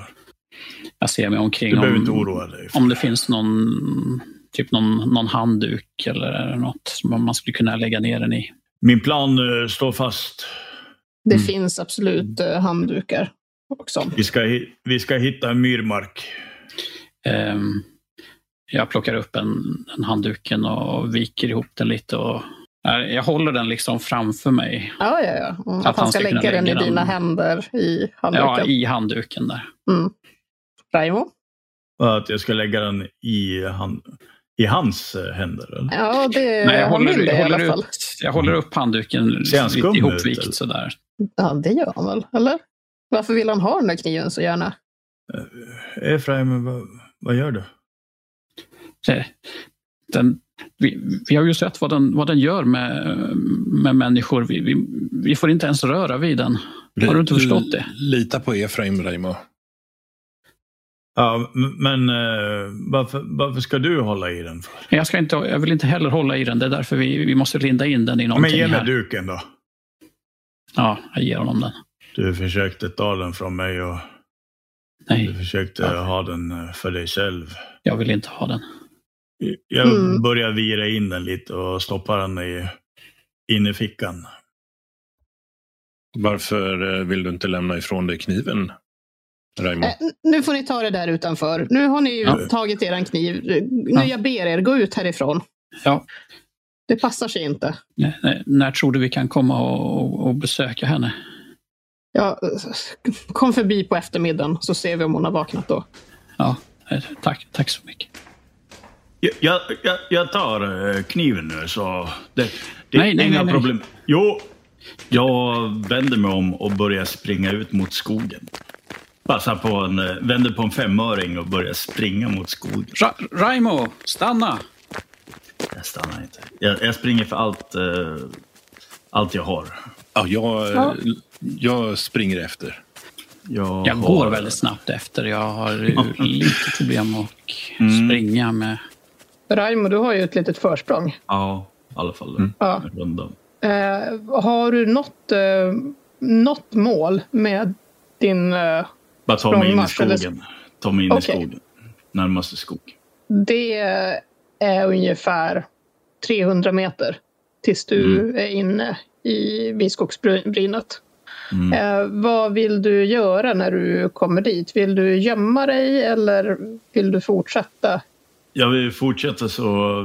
Speaker 4: Jag ser mig omkring.
Speaker 1: Du behöver
Speaker 4: om-
Speaker 1: inte oroa dig.
Speaker 4: om det finns någon, typ någon, någon handduk eller något som man skulle kunna lägga ner den i.
Speaker 1: Min plan eh, står fast.
Speaker 2: Det
Speaker 4: Mm.
Speaker 2: finns absolut eh, handdukar och sånt.
Speaker 1: Vi ska, hi- vi ska hitta en myrmark.
Speaker 4: Ehm, jag plockar upp en, en handduken och viker ihop den lite. Och, Nej, jag håller den liksom framför mig.
Speaker 2: Ja, ja, ja. Mm,
Speaker 4: Att
Speaker 2: Att han
Speaker 4: han
Speaker 2: ska
Speaker 4: ska kunna
Speaker 2: lägga den i
Speaker 4: lägga den-
Speaker 2: dina händer i
Speaker 4: Ja,
Speaker 2: handduken. Mm.
Speaker 4: i handduken där.
Speaker 2: Raimo?
Speaker 1: Och Att jag ska lägga den i, han, i hans eh, händer. Eller?
Speaker 2: Ja, det,
Speaker 4: Nej, jag
Speaker 2: han
Speaker 4: håller,
Speaker 2: vill det
Speaker 4: jag,
Speaker 2: i alla
Speaker 4: håller
Speaker 2: fall.
Speaker 4: upp, jag håller upp handduken
Speaker 1: Ser han
Speaker 4: lite
Speaker 1: skum ut,
Speaker 4: ihopvikt
Speaker 1: eller?
Speaker 4: sådär.
Speaker 2: Ja, det gör han väl, eller? Varför vill han ha den där kniven så gärna?
Speaker 1: Efraim, vad, vad gör du?
Speaker 4: Det- Den, vi, vi har ju sett vad den, vad den gör med, med människor. Vi, vi, vi får inte ens röra vid den. Har du inte förstått det?
Speaker 3: Lita på Efraim, Raimo.
Speaker 1: Ja, m- men eh, varför, varför ska du hålla i den? För?
Speaker 4: Men Jag, ska inte, jag vill inte heller hålla i den. Det är därför vi, vi måste linda in den i
Speaker 1: Men
Speaker 4: någonting.
Speaker 1: ge mig
Speaker 4: här.
Speaker 1: duken då.
Speaker 4: Ja, jag ger honom den.
Speaker 1: Du försökte ta den från mig och du
Speaker 4: Nej,
Speaker 1: försökte
Speaker 4: Ja.
Speaker 1: ha den eh, för dig själv.
Speaker 4: jag vill inte ha den.
Speaker 1: Jag
Speaker 2: Mm.
Speaker 1: börjar vira in den lite och stoppar den i, in i fickan.
Speaker 3: Varför eh, vill du inte lämna ifrån dig kniven, Raimo?
Speaker 2: Eh, n- nu får ni ta det där utanför. Nu har ni ju
Speaker 4: Mm. Ja.
Speaker 2: tagit er kniv. Nu
Speaker 4: Ja.
Speaker 2: jag ber er, gå ut härifrån.
Speaker 4: Ja.
Speaker 2: Det passar sig inte.
Speaker 4: Nej, nej, När tror du vi kan komma och, och, och besöka henne?
Speaker 2: Ja, kom förbi på eftermiddagen så ser vi om hon har vaknat då.
Speaker 4: Ja, eh, tack, tack så mycket.
Speaker 1: Jag, jag, jag tar eh, kniven nu så det, det
Speaker 4: Nej,
Speaker 1: är
Speaker 4: nej,
Speaker 1: inga
Speaker 4: nej, nej.
Speaker 1: problem. Jo, jag vänder mig om och börjar springa ut mot skogen. Passar på en, eh, vänder på en femöring och börjar springa mot skogen.
Speaker 4: Ra Raimo, stanna!
Speaker 1: Jag stannar inte. Jag, jag springer för allt, eh, allt jag har.
Speaker 3: Ja, jag,
Speaker 2: Ja.
Speaker 3: jag springer efter.
Speaker 1: Jag,
Speaker 4: Jag
Speaker 1: har-
Speaker 4: går väldigt snabbt efter. Jag har
Speaker 1: *laughs*
Speaker 4: ju lite problem att
Speaker 1: Mm.
Speaker 4: springa med...
Speaker 2: Raimo, du har ju ett litet försprång.
Speaker 1: Ja, i alla fall
Speaker 4: Mm.
Speaker 2: Ja.
Speaker 1: en runda.
Speaker 2: Eh, har du något, eh, något mål med din... Eh,
Speaker 1: Bara ta mig in i
Speaker 2: Språngmarsch eller-
Speaker 1: skogen. Ta mig in i
Speaker 2: Okej.
Speaker 1: skogen. Närmaste skog.
Speaker 2: det är ungefär 300 meter tills du är inne i Biskogsbrynet. Eh, vad vill du göra när du kommer dit? Vill du gömma dig eller vill du fortsätta?
Speaker 1: Jag vill fortsätta så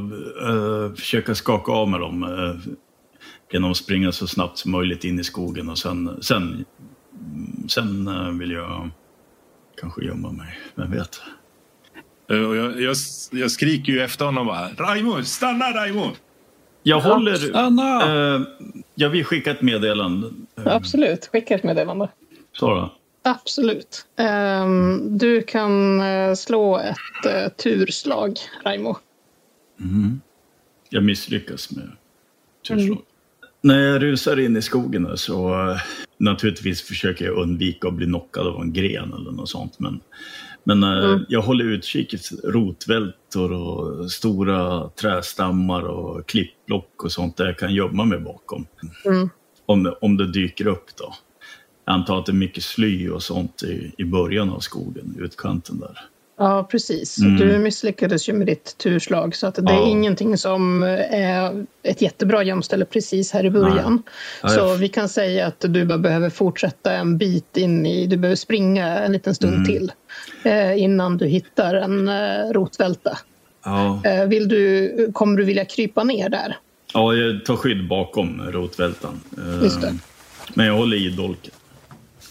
Speaker 1: eh, försöka skaka av med dem. eh, genom att springa så snabbt som möjligt in i skogen och sen, sen, sen eh, vill jag kanske gömma mig. Vem vet?
Speaker 3: Eh, och Jag, jag, jag skriker ju efter honom bara. Raimo, stanna Raimo!
Speaker 1: Jag håller...
Speaker 4: Stanna!
Speaker 1: eh, jag vill skicka ett meddelande. Eh,
Speaker 2: Absolut, skicka ett meddelande.
Speaker 1: Sara?
Speaker 2: Absolut. Ehm, du kan eh, slå ett eh, turslag, Raimo.
Speaker 1: Jag misslyckas med turslag. När jag rusar in i skogen här så eh, naturligtvis försöker jag undvika att bli knockad av en gren eller något sånt. Men, men eh, jag håller utkik efter rotvältor och stora trästammar och klippblock och sånt där jag kan gömma mig bakom. Om, om det dyker upp då. Jag antar att det är mycket sly och sånt i, i början av skogen, i utkanten där.
Speaker 2: Ja, precis. Du misslyckades ju med ditt turslag så att det
Speaker 1: Mm. Ja.
Speaker 2: är ingenting som är ett jättebra gömställe precis här i början.
Speaker 1: Nej.
Speaker 2: Så vi kan säga att du bara behöver fortsätta en bit in i, du behöver springa en liten stund
Speaker 1: Mm.
Speaker 2: till eh, innan du hittar en eh, rotvälta.
Speaker 1: Ja.
Speaker 2: Eh, vill du, kommer du vilja krypa ner där?
Speaker 1: ja, jag tar skydd bakom rotvältan. Eh,
Speaker 2: Just det.
Speaker 1: Men jag håller i dolken.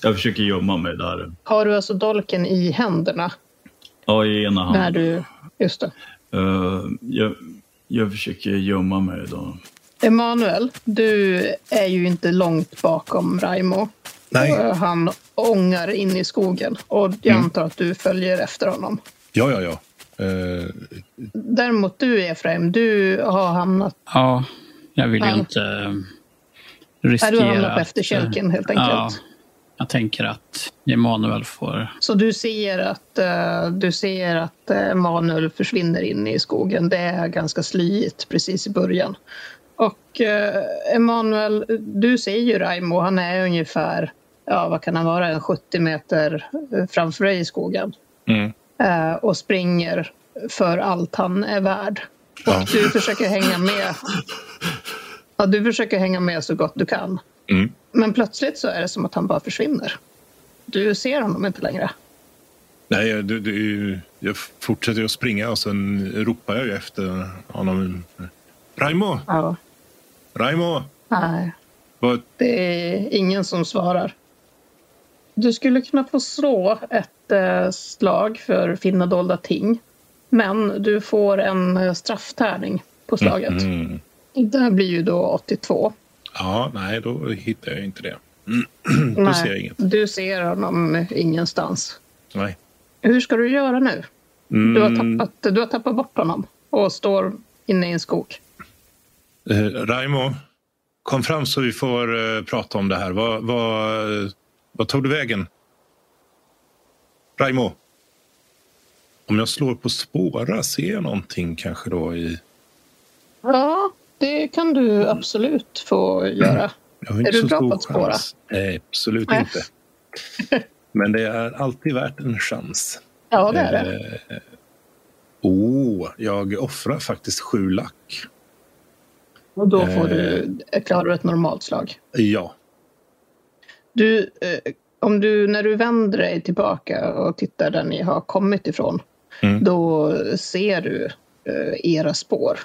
Speaker 1: Jag försöker gömma mig där.
Speaker 2: Har du alltså dolken i händerna
Speaker 1: Ja, i ena
Speaker 2: när
Speaker 1: handen.
Speaker 2: du, just det.
Speaker 1: Eh, jag, jag försöker gömma mig då.
Speaker 2: Emanuel, du är ju inte långt bakom Raimo.
Speaker 3: Nej.
Speaker 2: Och Han ångar in i skogen och jag antar att du följer efter honom.
Speaker 3: Ja, ja, ja. Eh,
Speaker 2: Däremot du Efraim, du har hamnat,
Speaker 4: Ja, jag vill ju
Speaker 2: Ja.
Speaker 4: inte eh,
Speaker 2: nej,
Speaker 4: riskera...
Speaker 2: du har hamnat på
Speaker 4: att-
Speaker 2: efterkälken helt enkelt.
Speaker 4: Ja, jag tänker att Emanuel får...
Speaker 2: Så du ser att, eh, du ser att eh, Emanuel försvinner in i skogen. Det är ganska slyigt precis i början. Och eh, Emanuel, du ser ju Raimo, han är ungefär, ja vad kan han vara, en 70 meter eh, framför dig i skogen.
Speaker 3: Mm.
Speaker 2: Eh, och springer för allt han är värd. Och
Speaker 3: Ja.
Speaker 2: du försöker hänga med. Ja, du försöker hänga med så gott du kan.
Speaker 3: Mm.
Speaker 2: Men plötsligt så är det som att han bara försvinner. Du ser honom inte längre.
Speaker 3: Nej, jag, det, det, är ju- jag fortsätter ju att springa och sen ropar jag ju efter honom. Raimo!
Speaker 2: Ja.
Speaker 3: Raimo!
Speaker 2: Nej,
Speaker 3: Vad,
Speaker 2: det är ingen som svarar. Du skulle kunna få slå ett eh, slag för finna dolda ting. Men du får en eh, strafftärning på slaget.
Speaker 3: Mm.
Speaker 2: Det här blir ju då 82.
Speaker 3: Ja, nej, då hittar jag inte det. *clears throat* då ser jag inget.
Speaker 2: Du ser honom ingenstans.
Speaker 3: Nej. Mm.
Speaker 2: Hur ska du göra nu? Du, har tappat, du har tappat bort honom och står inne i en skog.
Speaker 3: Eh, Raimo, kom fram så vi får eh, prata om det här. Vad, vad, eh, vad tog du vägen? Raimo? Om jag slår på spåra, ser jag någonting kanske då? I...
Speaker 2: Ja, det kan du absolut få göra.
Speaker 3: Jag har inte
Speaker 2: Är du
Speaker 3: så
Speaker 2: bra
Speaker 3: stor
Speaker 2: på att spåra?
Speaker 3: chans. Nej, absolut
Speaker 2: Nej.
Speaker 3: inte. Men det är alltid värt en chans.
Speaker 2: Ja, det är det.
Speaker 3: Eh, Oh, jag offrar faktiskt sju lack.
Speaker 2: Och då får du,
Speaker 3: eh,
Speaker 2: klarar du ett normalt slag.
Speaker 3: Ja.
Speaker 2: Du, eh, om du, när du vänder dig tillbaka och tittar där ni har kommit ifrån, då ser du eh, era spår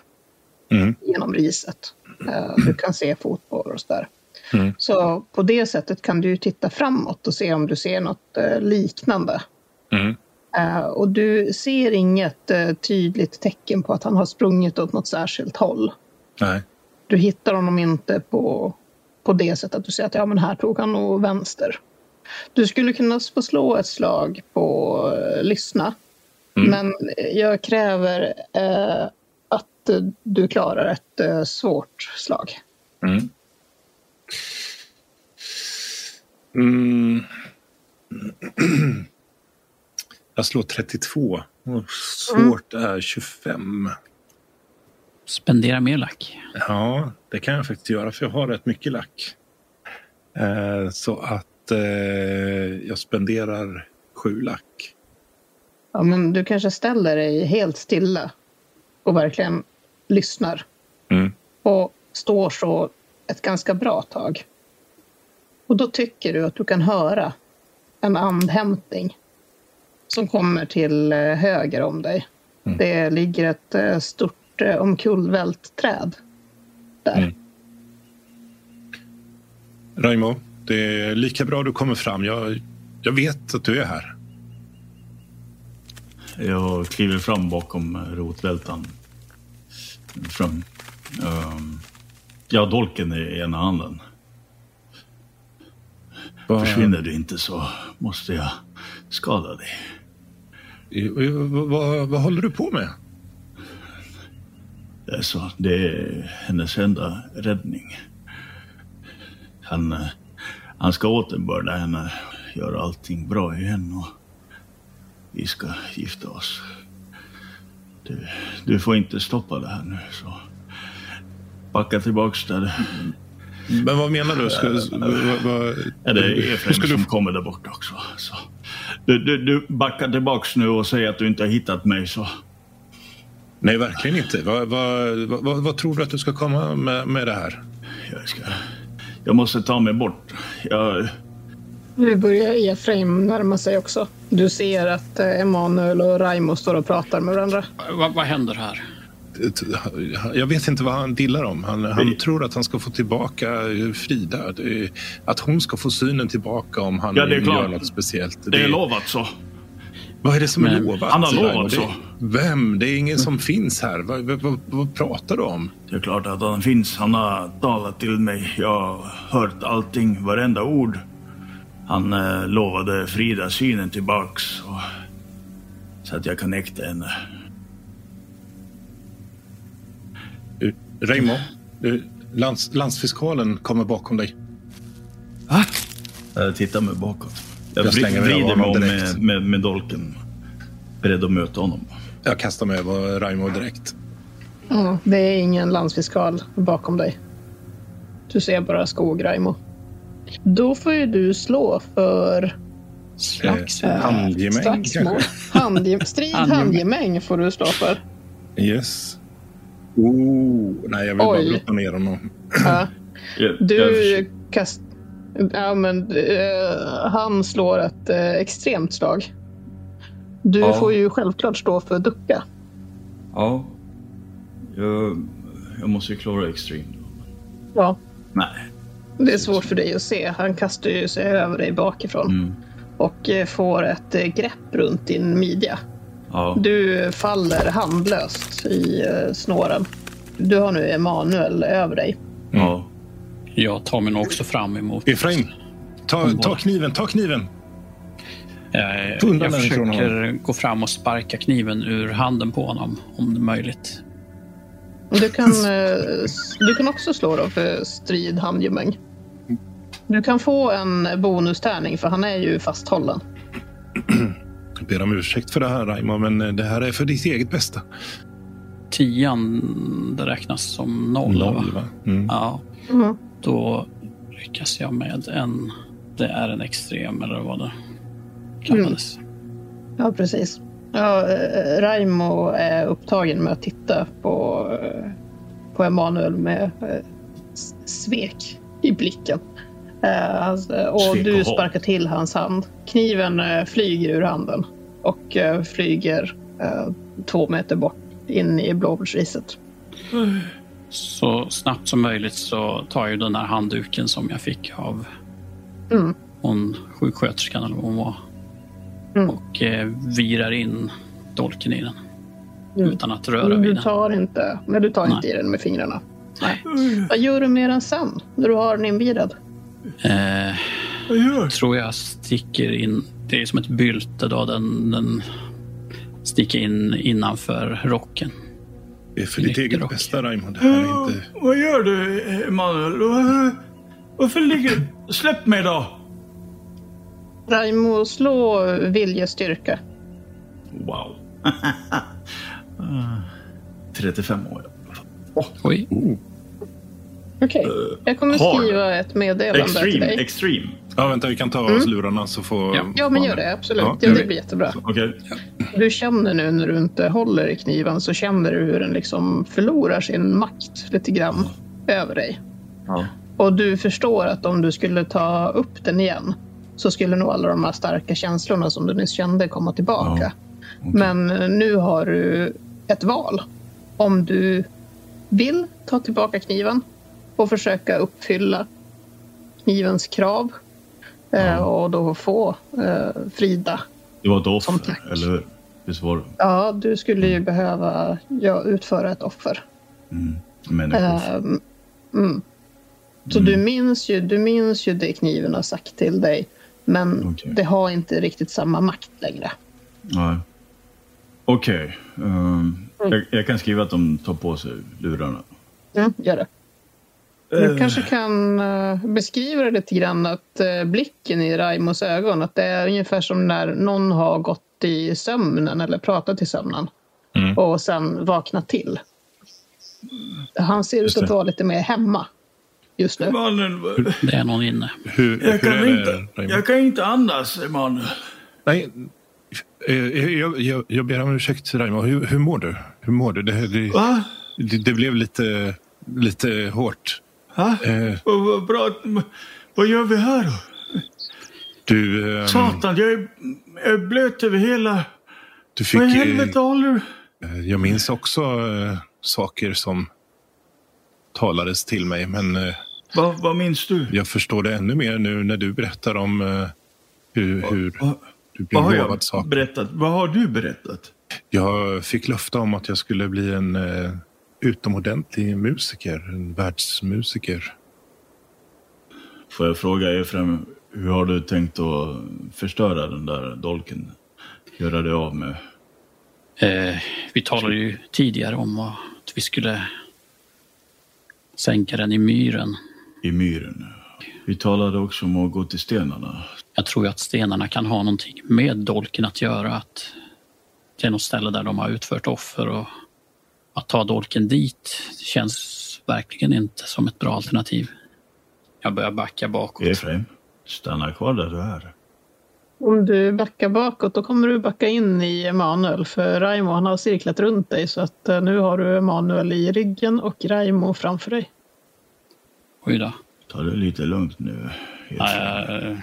Speaker 3: Mm.
Speaker 2: genom riset. Eh, du kan se fotspår och sådär.
Speaker 3: Mm.
Speaker 2: Så på det sättet kan du titta framåt och se om du ser något eh, liknande.
Speaker 3: Mm.
Speaker 2: Eh, Och du ser inget eh, tydligt tecken på att han har sprungit åt något särskilt håll.
Speaker 3: Nej.
Speaker 2: Du hittar honom inte på, på det sättet att du ser att ja, men här tog han nog vänster. Du skulle kunna få slå ett slag på eh, lyssna. Men jag kräver eh, att eh, du klarar ett eh, svårt slag.
Speaker 3: Mm. Mm. *clears throat* Jag slår 32 och svårt är 25.
Speaker 4: Spendera mer lack.
Speaker 3: Ja, det kan jag faktiskt göra för jag har rätt mycket lack. Eh, så att eh, jag spenderar sju lack.
Speaker 2: Ja, men du kanske ställer dig helt stilla och verkligen lyssnar.
Speaker 3: Mm.
Speaker 2: och står så ett ganska bra tag. Och då tycker du att du kan höra en andhämtning som kommer till eh, höger om dig. Det ligger ett eh, stort eh, omkullvält träd där.
Speaker 3: Mm. Raimo, det är lika bra du kommer fram. Jag, jag vet att du är här.
Speaker 1: Jag kliver fram bakom rotvältan. Fram. Ehm, jag har dolken i ena handen.
Speaker 3: Vad-
Speaker 1: Försvinner du inte så måste jag skada dig.
Speaker 3: i- vad- vad- vad håller du på med?
Speaker 1: Alltså, det är hennes enda räddning. Han, eh, han ska återbörda henne, göra allting bra igen och vi ska gifta oss. Du, du får inte stoppa det här nu, så backa tillbaks där.
Speaker 3: Men vad menar du? Ska, vad, vad,
Speaker 1: Ja, det Eh, är
Speaker 3: hur
Speaker 1: Efraim
Speaker 3: ska du
Speaker 1: som kommer där borta också. Så. Du, du, du backar tillbaks nu och säger att du inte har hittat mig, så
Speaker 3: Nej, verkligen inte. Vad, vad, vad, vad, vad tror du att du ska komma med, med det här?
Speaker 1: jag ska... Jag måste ta mig bort. Jag,
Speaker 2: Nu börjar Efraim närma sig också. Du ser att eh, Emanuel och Raimo står och pratar med varandra.
Speaker 4: Vad, vad händer här?
Speaker 3: Jag vet inte vad han dillar om. Han, han tror att han ska få tillbaka Frida. Det är- Att hon ska få synen tillbaka om han
Speaker 1: Ja, det är
Speaker 3: gör
Speaker 1: klart.
Speaker 3: något speciellt.
Speaker 1: det är
Speaker 3: Det-
Speaker 1: lovat så.
Speaker 3: Vad är det som är
Speaker 4: Men-
Speaker 3: lovat?
Speaker 1: Han har lovat
Speaker 3: Raimo? Det-
Speaker 1: så.
Speaker 3: Vem? Det är ingen som finns här. Vad, vad, vad, vad pratar du om?
Speaker 1: Det är klart att han finns. Han har talat till mig. Jag har hört allting, varenda ord. Han eh, lovade Frida synen tillbaks. Och, så att jag kan äkta henne.
Speaker 3: Reimo, lands, landsfiskalen kommer bakom dig.
Speaker 1: Jag tittar Eh, mig bakåt. Jag,
Speaker 3: Jag
Speaker 1: vri-
Speaker 3: slänger mig
Speaker 1: vrider
Speaker 3: av
Speaker 1: mig om
Speaker 3: honom direkt.
Speaker 1: med, med, med dolken. Beredd att möta honom.
Speaker 3: Jag kastar mig över Raimo direkt.
Speaker 2: Ja, det är ingen landsfiskal bakom dig. Du ser bara skog, Raimo. Då får ju du slå för
Speaker 4: Slagsmål?
Speaker 2: eh,
Speaker 3: Handgemäng,
Speaker 2: slagsmål.
Speaker 3: kanske?
Speaker 2: Handge, strid
Speaker 4: Handgemäng.
Speaker 2: handgemäng får du slå för.
Speaker 3: Yes. Oh, nej, jag vill bara
Speaker 2: Oj.
Speaker 3: blotta ner honom.
Speaker 2: Ja,
Speaker 1: Jag, jag försöker-
Speaker 2: du kast... Ja, men, eh, han slår ett eh, extremt slag. Du
Speaker 8: Ja.
Speaker 2: får ju självklart stå för ducka.
Speaker 8: Ja. Jag, jag måste ju klara extreme.
Speaker 2: Ja.
Speaker 1: Nej.
Speaker 2: Det är svårt för dig att se. Han kastar ju sig över dig bakifrån
Speaker 8: Mm.
Speaker 2: och eh, får ett eh, grepp runt din midja.
Speaker 8: Ja.
Speaker 2: Du faller handlöst i eh, snåren. Du har nu Emanuel över dig.
Speaker 8: ja.
Speaker 4: Jag tar mig nog också fram emot...
Speaker 3: Efraim, ta, ta kniven, ta kniven!
Speaker 4: Eh,
Speaker 3: Få
Speaker 4: jag
Speaker 3: undan den ifrån
Speaker 4: försöker gå fram och sparka kniven ur handen på honom, om det är möjligt.
Speaker 2: Du kan, eh, s- du kan också slå då för strid handgemäng. Du kan få en bonustärning för han är ju fasthållen.
Speaker 3: Jag ber om ursäkt för det här, Raimo, men eh, det här är för ditt eget bästa.
Speaker 4: Tian, det räknas som noll, va?
Speaker 3: va? Mm.
Speaker 4: Ja.
Speaker 2: Mm.
Speaker 4: Då lyckas jag med en... Det är en extrem, eller vad det
Speaker 2: Mm.
Speaker 4: kallades.
Speaker 2: Ja, precis. Ja, eh, Raimo är upptagen med att titta på, eh, på Emanuel med eh, s- svek i blicken. Eh, hans- eh, Och
Speaker 1: Svek och
Speaker 2: du
Speaker 1: hat.
Speaker 2: sparkar till hans hand. Kniven eh, flyger ur handen och eh, flyger eh, två meter bort in i blåbärsriset.
Speaker 4: Så snabbt som möjligt så tar jag den här handduken som jag fick av
Speaker 2: Mm.
Speaker 4: hon sjuksköterskan eller vad hon var.
Speaker 2: Mm.
Speaker 4: Och eh, virar in dolken i den.
Speaker 2: Mm.
Speaker 4: Utan att röra
Speaker 2: Men
Speaker 4: vid
Speaker 2: du
Speaker 4: den.
Speaker 2: tar inte, men du tar
Speaker 4: Nej.
Speaker 2: inte i den med fingrarna.
Speaker 4: Nej.
Speaker 2: Vad gör du med den sen, när du har den invirad?
Speaker 4: Eh,
Speaker 1: Vad gör?
Speaker 4: tror jag sticker in. Det är som ett bylte då. Den, den sticker in innanför rocken.
Speaker 3: Det är för ditt eget
Speaker 4: Nyckelrock.
Speaker 3: bästa, Raymond. Det här är
Speaker 2: Mm.
Speaker 3: inte...
Speaker 1: Vad gör du, Emanuel? Vad- Varför ligger du... Släpp mig då!
Speaker 2: Raimo, slå viljestyrka.
Speaker 1: *laughs*
Speaker 9: Wow. Ah, 35 år.
Speaker 4: Oj.
Speaker 2: Okej, jag kommer
Speaker 9: Eh, Har du?
Speaker 2: skriva ett meddelande till
Speaker 9: Extreme,
Speaker 2: dig.
Speaker 9: extreme.
Speaker 3: Ja, vänta, vi kan ta av oss lurarna så får...
Speaker 4: Ja.
Speaker 2: Mm. Ja, men gör det. Absolut.
Speaker 3: Ja,
Speaker 2: Ja,
Speaker 3: gör
Speaker 2: det
Speaker 3: det.
Speaker 2: blir jättebra.
Speaker 9: Okej.
Speaker 2: Du känner nu när du inte håller i kniven så känner du hur den liksom förlorar sin makt lite grann över dig.
Speaker 9: Ja.
Speaker 2: Och du förstår att om du skulle ta upp den igen så skulle nog alla de här starka känslorna som du nyss kände komma tillbaka. Men nu har du ett val. Om du vill ta tillbaka kniven och försöka uppfylla knivens krav eh, och då få eh, Frida
Speaker 9: Det var ett
Speaker 2: Som tack.
Speaker 9: offer, eller hur? Visst var det?
Speaker 2: Ja, du skulle ju behöva ja, utföra ett offer.
Speaker 9: Men det var-
Speaker 2: Ehm, mm. Så du, minns ju, du minns ju det kniven har sagt till dig, men
Speaker 9: Okej.
Speaker 2: det har inte riktigt samma makt längre.
Speaker 9: Nej. Okej. ehm, jag, jag kan skriva att de tar på sig lurarna.
Speaker 2: Mm, gör det.
Speaker 1: Eh.
Speaker 2: Du kanske kan eh, beskriva det lite grann, att eh, blicken i Raimos ögon, att det är ungefär som när någon har gått i sömnen eller pratat i sömnen och sen vaknat till. Han ser ut
Speaker 3: det.
Speaker 2: att vara lite mer hemma just nu.
Speaker 1: Emanuel, vad-
Speaker 4: Det är någon inne.
Speaker 3: Hur,
Speaker 1: jag
Speaker 3: hur
Speaker 1: kan,
Speaker 3: är det,
Speaker 1: inte,
Speaker 3: Raymond?
Speaker 1: jag kan inte andas, Emanuel.
Speaker 3: Nej, eh, jag, jag, jag ber om ursäkt, Raimo. Hur, hur mår du? Hur mår du? Det, här- det,
Speaker 1: Va?
Speaker 3: det, det blev lite, lite hårt.
Speaker 1: Va?
Speaker 3: Eh,
Speaker 1: Vad- Vad bra. att- Vad gör vi här då?
Speaker 3: Du, ehm,
Speaker 1: Satan, jag är, jag är blöt över hela...
Speaker 3: du fick...
Speaker 1: Vad i
Speaker 3: eh,
Speaker 1: helvete håller du?
Speaker 3: eh, Jag minns också eh, saker som talades till mig, men eh,
Speaker 1: Vad, vad minns du?
Speaker 3: jag förstår det ännu mer nu när du berättar om eh, hur, hur
Speaker 1: Vad,
Speaker 3: du blev
Speaker 1: vad har
Speaker 3: lovad
Speaker 1: jag
Speaker 3: saker.
Speaker 1: berättat? Vad har du berättat?
Speaker 3: Jag fick löfte om att jag skulle bli en eh, utomordentlig musiker, en världsmusiker.
Speaker 9: Får jag fråga Efraim, hur har du tänkt att förstöra den där dolken? Göra dig av med?
Speaker 4: Eh, vi talade ju tidigare om att vi skulle sänka den i myren.
Speaker 9: i myren. Vi talade också om att gå till stenarna.
Speaker 4: Jag tror ju att stenarna kan ha någonting med dolken att göra. Att det är något ställe där de har utfört offer och att ta dolken dit känns verkligen inte som ett bra alternativ. Jag börjar backa bakåt.
Speaker 9: Efraim, stanna kvar där du är.
Speaker 2: Om du backar bakåt, då kommer du backa in i Emanuel. För Raimo, han har cirklat runt dig. Så att eh, nu har du Emanuel i ryggen och Raimo framför dig.
Speaker 4: Oj då.
Speaker 9: Ta det lite lugnt nu.
Speaker 4: Ja,
Speaker 9: Efraim.
Speaker 4: Jag,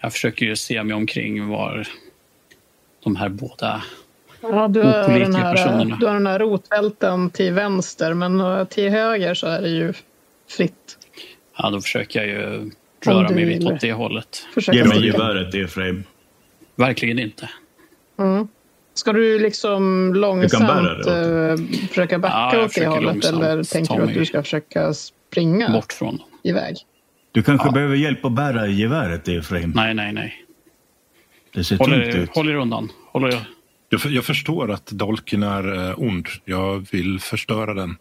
Speaker 4: jag försöker ju se mig omkring var de här båda...
Speaker 2: Ja, du, har
Speaker 4: Opålitliga
Speaker 2: den
Speaker 4: personerna.
Speaker 2: här, du har den här rotvälten till vänster, men eh, till höger så är det ju fritt.
Speaker 4: Ja, då försöker jag ju röra
Speaker 2: du
Speaker 4: mig
Speaker 2: vill.
Speaker 4: lite åt det hållet.
Speaker 9: Ge
Speaker 2: Försöka
Speaker 9: mig
Speaker 2: sticka.
Speaker 9: geväret Efraim.
Speaker 4: Verkligen inte.
Speaker 2: Mm. Ska du liksom
Speaker 9: bära
Speaker 2: långsamt
Speaker 9: det åt
Speaker 2: eh, försöka
Speaker 4: Ja,
Speaker 2: backa
Speaker 4: jag
Speaker 2: åt det
Speaker 4: försöker
Speaker 2: hållet
Speaker 4: långsamt
Speaker 2: eller
Speaker 4: ta
Speaker 2: tänker du att
Speaker 4: mig
Speaker 2: du ska försöka springa
Speaker 4: Bort från dem.
Speaker 2: iväg?
Speaker 9: Du kanske behöver hjälp att bära geväret Efraim.
Speaker 4: Nej, nej, nej.
Speaker 9: Det ser
Speaker 4: Håll
Speaker 9: tungt
Speaker 4: er,
Speaker 9: ut.
Speaker 4: håll er undan. Håll er.
Speaker 3: Jag, för, jag förstår att dolken är eh, ond. Jag vill förstöra den.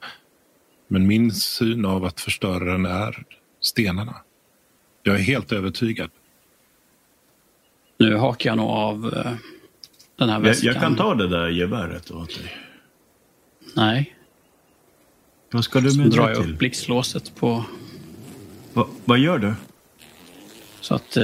Speaker 3: Men min syn av att förstöra den är stenarna. Jag är helt övertygad.
Speaker 4: Nu hakar jag nog av eh, den här
Speaker 9: Jag,
Speaker 4: väskan.
Speaker 9: jag kan ta det där geväret åt dig.
Speaker 4: Nej.
Speaker 9: Vad ska du
Speaker 4: Så
Speaker 9: med
Speaker 4: drar
Speaker 9: det
Speaker 4: jag upp
Speaker 9: till?
Speaker 4: blixtlåset på...
Speaker 9: Va, vad gör du?
Speaker 4: Så att eh,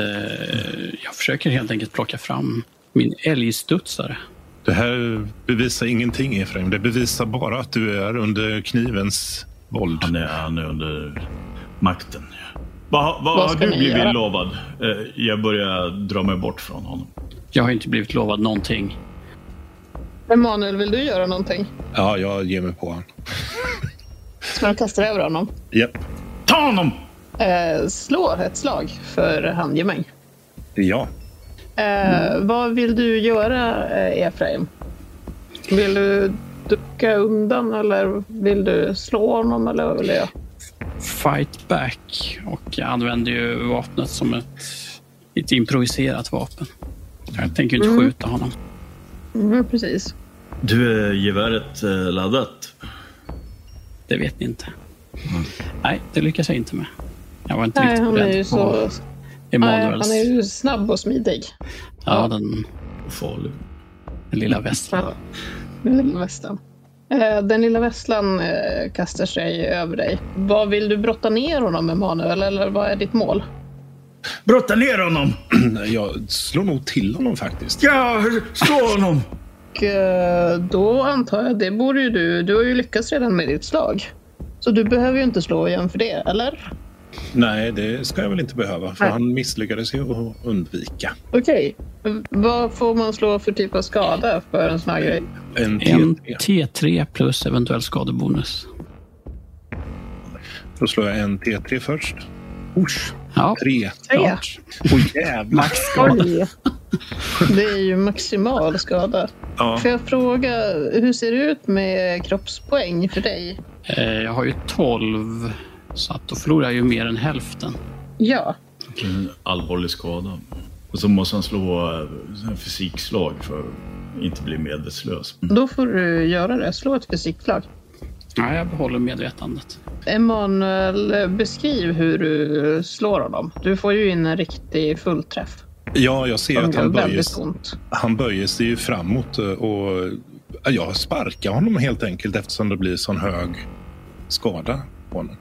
Speaker 4: jag försöker helt enkelt plocka fram min älgstudsare.
Speaker 3: Det här bevisar ingenting, Efraim. Det bevisar bara att du är under knivens våld.
Speaker 9: Han är, han är under makten. Vad, vad,
Speaker 2: Vad
Speaker 9: har
Speaker 2: ska
Speaker 9: du
Speaker 2: ni
Speaker 9: blivit
Speaker 2: göra?
Speaker 9: lovad? Eh, Jag börjar dra mig bort från honom.
Speaker 4: Jag har inte blivit lovad någonting.
Speaker 2: Emanuel, vill du göra någonting?
Speaker 3: Ja, jag ger mig på honom.
Speaker 2: Som du kastar över honom.
Speaker 3: Japp.
Speaker 1: Ta honom!
Speaker 2: Eh, slå ett slag för handgemäng.
Speaker 3: Ja.
Speaker 2: Eh, Vad vill du göra, eh, Efraim? Vill du ducka undan eller vill du slå honom? Eller vad vill du göra?
Speaker 4: Fight back. Och jag använder ju vapnet som ett, ett improviserat vapen. Jag tänker ju inte skjuta honom.
Speaker 2: Mm, precis.
Speaker 9: Du, är geväret eh, laddat?
Speaker 4: Det vet ni inte.
Speaker 9: Mm.
Speaker 4: Nej, det lyckas jag inte med. Jag var inte
Speaker 2: Nej,
Speaker 4: riktigt
Speaker 2: han är ju
Speaker 4: beredd
Speaker 2: så...
Speaker 4: på
Speaker 2: Nej, han
Speaker 4: Emanuels...
Speaker 2: är ju snabb och smidig.
Speaker 4: Ja, den,
Speaker 9: Farlig.
Speaker 4: den lilla västen.
Speaker 2: Ja. Den lilla väslan. Eh, Den lilla väslan eh, kastar sig över dig. Vad vill du brotta ner honom med, Manuel? Eller vad är ditt mål?
Speaker 1: Brotta ner honom!
Speaker 3: *clears throat* Jag slår nog till honom faktiskt.
Speaker 1: Ja, slå honom!
Speaker 2: Och eh, då antar jag, det borde ju du. Du har ju lyckats redan med ditt slag. Så du behöver ju inte slå igen för det, eller?
Speaker 3: Nej, det ska jag väl inte behöva. För
Speaker 2: Nej.
Speaker 3: han misslyckades ju att undvika.
Speaker 2: Okej. V- Vad får man slå för typ av skada för en sån här grej?
Speaker 3: En
Speaker 4: En
Speaker 3: T3.
Speaker 4: T3 plus eventuell skadebonus.
Speaker 3: Då slår jag en T3 först. Usch,
Speaker 4: Ja,
Speaker 3: tre.
Speaker 2: Tre.
Speaker 4: klart.
Speaker 3: Åh jävlar.
Speaker 4: Max skada.
Speaker 2: Det är ju maximal skada.
Speaker 3: Ja.
Speaker 2: Får jag fråga, hur ser det ut med kroppspoäng för dig?
Speaker 4: Eh, Jag har ju 12, så att då förlorar jag ju mer än hälften.
Speaker 2: Ja,
Speaker 9: En allvarlig skada. Och så måste han slå eh, en fysikslag för att inte bli medvetslös.
Speaker 2: då får du göra det. Slå ett fysikslag.
Speaker 4: Nej, jag behåller medvetandet.
Speaker 2: Emanuel, beskriv hur du slår honom. Du får ju in en riktig fullträff.
Speaker 3: ja, jag ser
Speaker 2: Det
Speaker 3: att han
Speaker 2: gör
Speaker 3: böjer,
Speaker 2: väldigt ont.
Speaker 3: han böjer sig ju framåt eh, och ja, jag sparkar honom helt enkelt eftersom det blir sån hög skada på honom.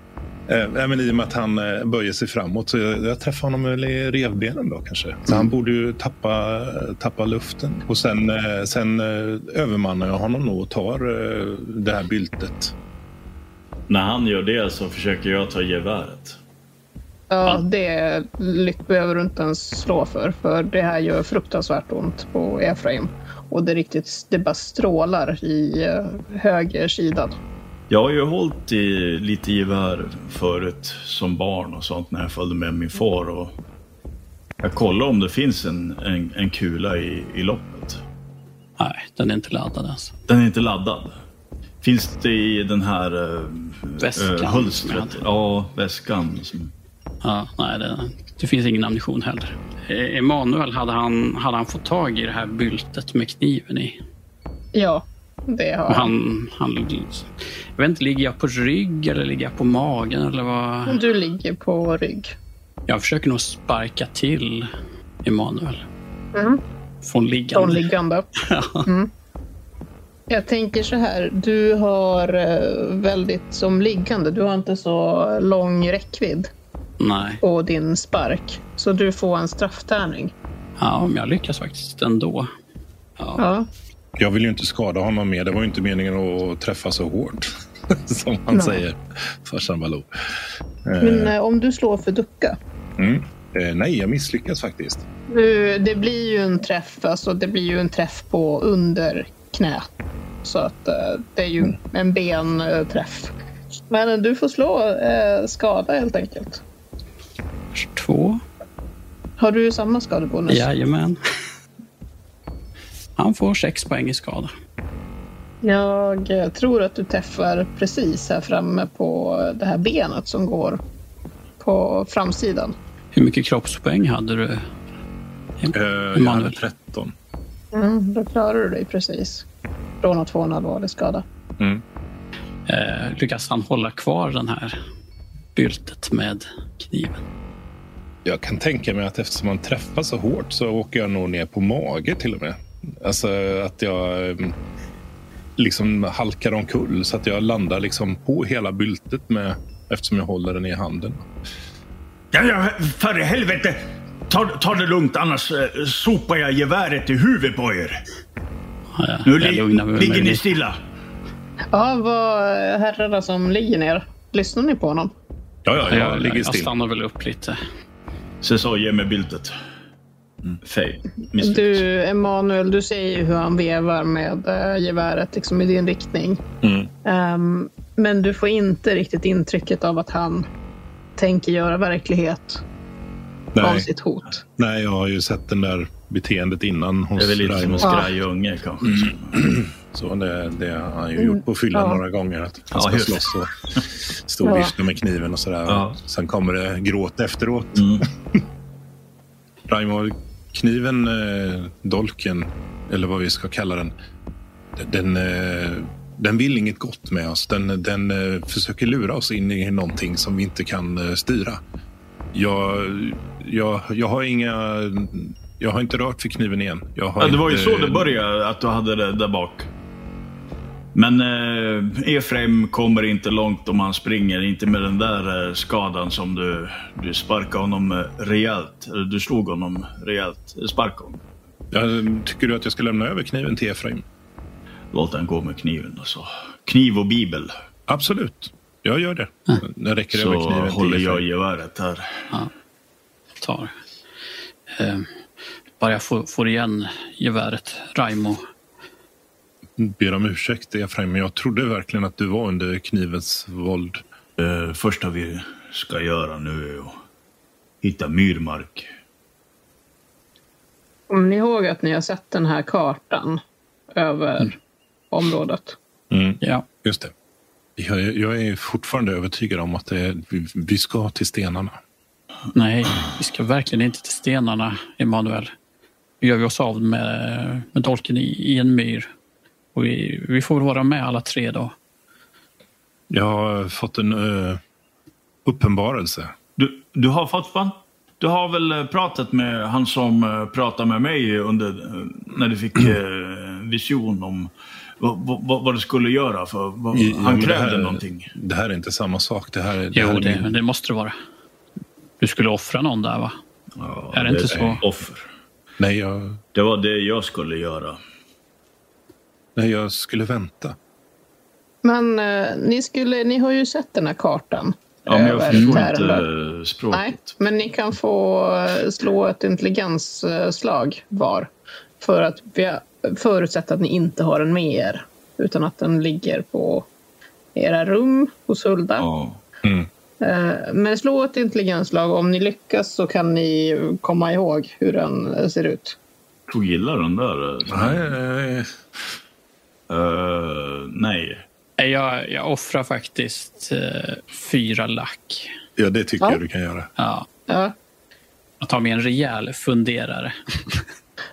Speaker 3: Eh, nej, men I och med att han eh, böjer sig framåt så jag, jag träffar honom väl i revbenen då kanske. Så han borde ju tappa, eh, tappa luften. Och sen, eh, sen eh, övermannar jag honom nog och tar eh, det här byltet.
Speaker 9: När han gör det så försöker jag ta geväret.
Speaker 2: Ja, det lyck- behöver du inte ens slå för, för det här gör fruktansvärt ont på Efraim. Och det, riktigt, det bara strålar i eh, höger sida.
Speaker 9: Jag har ju hållit i lite gevär förut som barn och sånt när jag följde med min far. Och jag kollar om det finns en, en, en kula i, i loppet.
Speaker 4: Nej, den är inte laddad ens.
Speaker 9: Den är inte laddad. Finns det i den här eh,
Speaker 4: Väskan
Speaker 9: eh,
Speaker 4: som jag
Speaker 9: hulstret?
Speaker 4: hade.
Speaker 9: Ja, väskan. Som,
Speaker 4: Ja, nej, det, det finns ingen ammunition heller. Eh, Emanuel, hade han, hade han fått tag i det här byltet med kniven i?
Speaker 2: Ja, det har
Speaker 4: Och han, han, jag vet inte, ligger jag på rygg eller ligger jag på magen eller vad?
Speaker 2: Du ligger på rygg.
Speaker 4: Jag försöker nog sparka till Emanuel.
Speaker 2: Mm.
Speaker 4: Från liggande.
Speaker 2: Från liggande. Mm. Jag tänker så här, du har eh, väldigt som liggande, du har inte så lång räckvidd
Speaker 4: Nej,
Speaker 2: på din spark. Så du får en strafftärning.
Speaker 4: ja, men jag lyckas faktiskt ändå.
Speaker 2: Ja.
Speaker 3: Jag vill ju inte skada honom mer. Det var ju inte meningen att träffa så hårt. *laughs* Som han
Speaker 2: Nej.
Speaker 3: säger, farsan Baloo.
Speaker 2: Men eh, om du slår för ducka.
Speaker 3: Mm. Eh, nej, jag misslyckas faktiskt.
Speaker 2: Du, det blir ju en träff, alltså det blir ju en träff på under knät. Så att eh, det är ju en benträff. Men eh, du får slå eh, skada helt enkelt.
Speaker 4: Två.
Speaker 2: Har du samma skadebonus?
Speaker 4: Jajamän. Han får sex poäng i skada.
Speaker 2: Jag eh, tror att du träffar precis här framme på det här benet som går på framsidan.
Speaker 4: Hur mycket kroppspoäng hade du?
Speaker 3: Eh, jag hade
Speaker 4: Emanuel.
Speaker 3: 13.
Speaker 2: Mm, då klarar du dig precis från att få en allvarlig skada.
Speaker 4: Eh, lyckas han hålla kvar den här byltet med kniven?
Speaker 3: Jag kan tänka mig att eftersom man träffar så hårt så åker jag nog ner på mage till och med. Alltså att jag eh, liksom halkar omkull så att jag landar liksom på hela byltet med eftersom jag håller den i handen.
Speaker 1: Ja, ja, för i helvete! Ta, ta det lugnt annars eh, sopar jag geväret i huvudet på er.
Speaker 4: Ja, jag-
Speaker 1: Nu
Speaker 4: jag lugnar
Speaker 1: li-
Speaker 4: mig
Speaker 1: ligger
Speaker 4: med
Speaker 1: ni
Speaker 4: det.
Speaker 1: stilla.
Speaker 2: Ja, vad eh, herrarna som ligger ner, lyssnar ni på honom?
Speaker 3: Ja, ja, jag
Speaker 4: jag,
Speaker 3: ligger
Speaker 4: jag
Speaker 3: still.
Speaker 4: stannar väl upp lite.
Speaker 9: så jag sa, ge mig byltet.
Speaker 1: Fej.
Speaker 2: Du, Emanuel, du ser ju hur han vevar med eh, geväret liksom, i din riktning.
Speaker 3: Mm.
Speaker 2: Ehm, men du får inte riktigt intrycket av att han tänker göra verklighet av
Speaker 3: Nej,
Speaker 2: sitt hot.
Speaker 3: nej, jag har ju sett den där beteendet innan
Speaker 1: Det är
Speaker 3: hos
Speaker 1: väl lite som en
Speaker 3: Raimo.
Speaker 1: skraj unge kanske.
Speaker 3: Så det, det har han ju gjort på fyllan
Speaker 2: Mm. Ja.
Speaker 3: några gånger. Att
Speaker 1: Ja,
Speaker 3: han ska
Speaker 1: just det.
Speaker 3: slåss och stå och
Speaker 2: Ja.
Speaker 3: vifta med kniven och sådär.
Speaker 1: Ja.
Speaker 3: Sen kommer det gråt efteråt.
Speaker 1: Mm.
Speaker 3: *laughs* Raimo, kniven, eh, dolken, eller vad vi ska kalla den. d- Den, eh, den vill inget gott med oss. Den, den eh, försöker lura oss in i någonting som vi inte kan eh, styra. Jag, jag, jag har inga... Jag har inte rört vid kniven igen. Jag har
Speaker 1: Ja, det var ju
Speaker 3: inte-
Speaker 1: så det började, att du hade det där bak. Men eh, Efraim kommer inte långt om han springer. Inte med den där eh, skadan som du... Du sparkade honom eh, rejält. Eller du slog honom rejält. Eh, Sparkade honom.
Speaker 3: Jag, tycker du att jag ska lämna över kniven till Efraim?
Speaker 1: Låt den gå med kniven och så. Kniv och bibel.
Speaker 3: Absolut. Jag gör det. Jag räcker över
Speaker 1: Så
Speaker 3: kniven
Speaker 1: håller
Speaker 3: till
Speaker 1: jag
Speaker 3: Efraim.
Speaker 1: geväret här.
Speaker 4: tar. Eh, bara jag får, får igen geväret, Raimo.
Speaker 3: Ber om ursäkt Efraim, men jag trodde verkligen att du var under knivens våld.
Speaker 1: Det Eh, första vi ska göra nu är att hitta myrmark.
Speaker 2: Kommer ni ihåg att ni har sett den här kartan över
Speaker 1: Mm.
Speaker 2: området?
Speaker 4: Ja,
Speaker 3: Just det. Jag, är- jag är fortfarande övertygad om att det är, vi, vi ska till stenarna.
Speaker 4: nej, vi ska verkligen inte till stenarna, Emanuel. Nu gör vi oss av med, med dolken i, i en myr. Och vi, vi får vara med alla tre då.
Speaker 3: Jag har fått en eh, uppenbarelse.
Speaker 1: Du, du har fått va? Du har väl eh, pratat med han som eh, pratade med mig under, eh, när du fick eh, vision om vad, vad, vad du skulle göra? För, vad,
Speaker 3: I- ja, men
Speaker 1: han
Speaker 3: det
Speaker 1: krävde
Speaker 3: här-
Speaker 1: någonting.
Speaker 3: Det här är inte samma sak. Det här, det här
Speaker 4: Jo,
Speaker 3: är
Speaker 4: det,
Speaker 3: min-
Speaker 4: det måste det vara. Du skulle offra någon där, va?
Speaker 1: Ja,
Speaker 4: Är det inte så?
Speaker 1: Offer.
Speaker 3: Nej, jag,
Speaker 1: Det var det jag skulle göra.
Speaker 3: nej, jag skulle vänta.
Speaker 2: Men eh, ni, skulle, ni har ju sett den här kartan.
Speaker 1: Ja, men jag
Speaker 2: över
Speaker 1: förstår
Speaker 2: Tärendö.
Speaker 1: inte eh, språket.
Speaker 2: Nej, men ni kan få eh, slå ett intelligensslag eh, var. För att vi har förutsatt att ni inte har den med er. Utan att den ligger på era rum hos Hulda.
Speaker 1: Ja.
Speaker 2: Eh, Men slå ett intelligensslag och om ni lyckas så kan ni komma ihåg hur den eh, ser ut.
Speaker 1: Tog illa den där? eh,
Speaker 3: Nej, eh,
Speaker 1: eh, nej.
Speaker 4: Nej, Jag, jag offrar faktiskt eh, fyra lack.
Speaker 3: ja, det tycker
Speaker 2: Ja.
Speaker 3: jag du kan göra.
Speaker 4: Ja,
Speaker 2: Ja.
Speaker 4: jag tar med en rejäl funderare.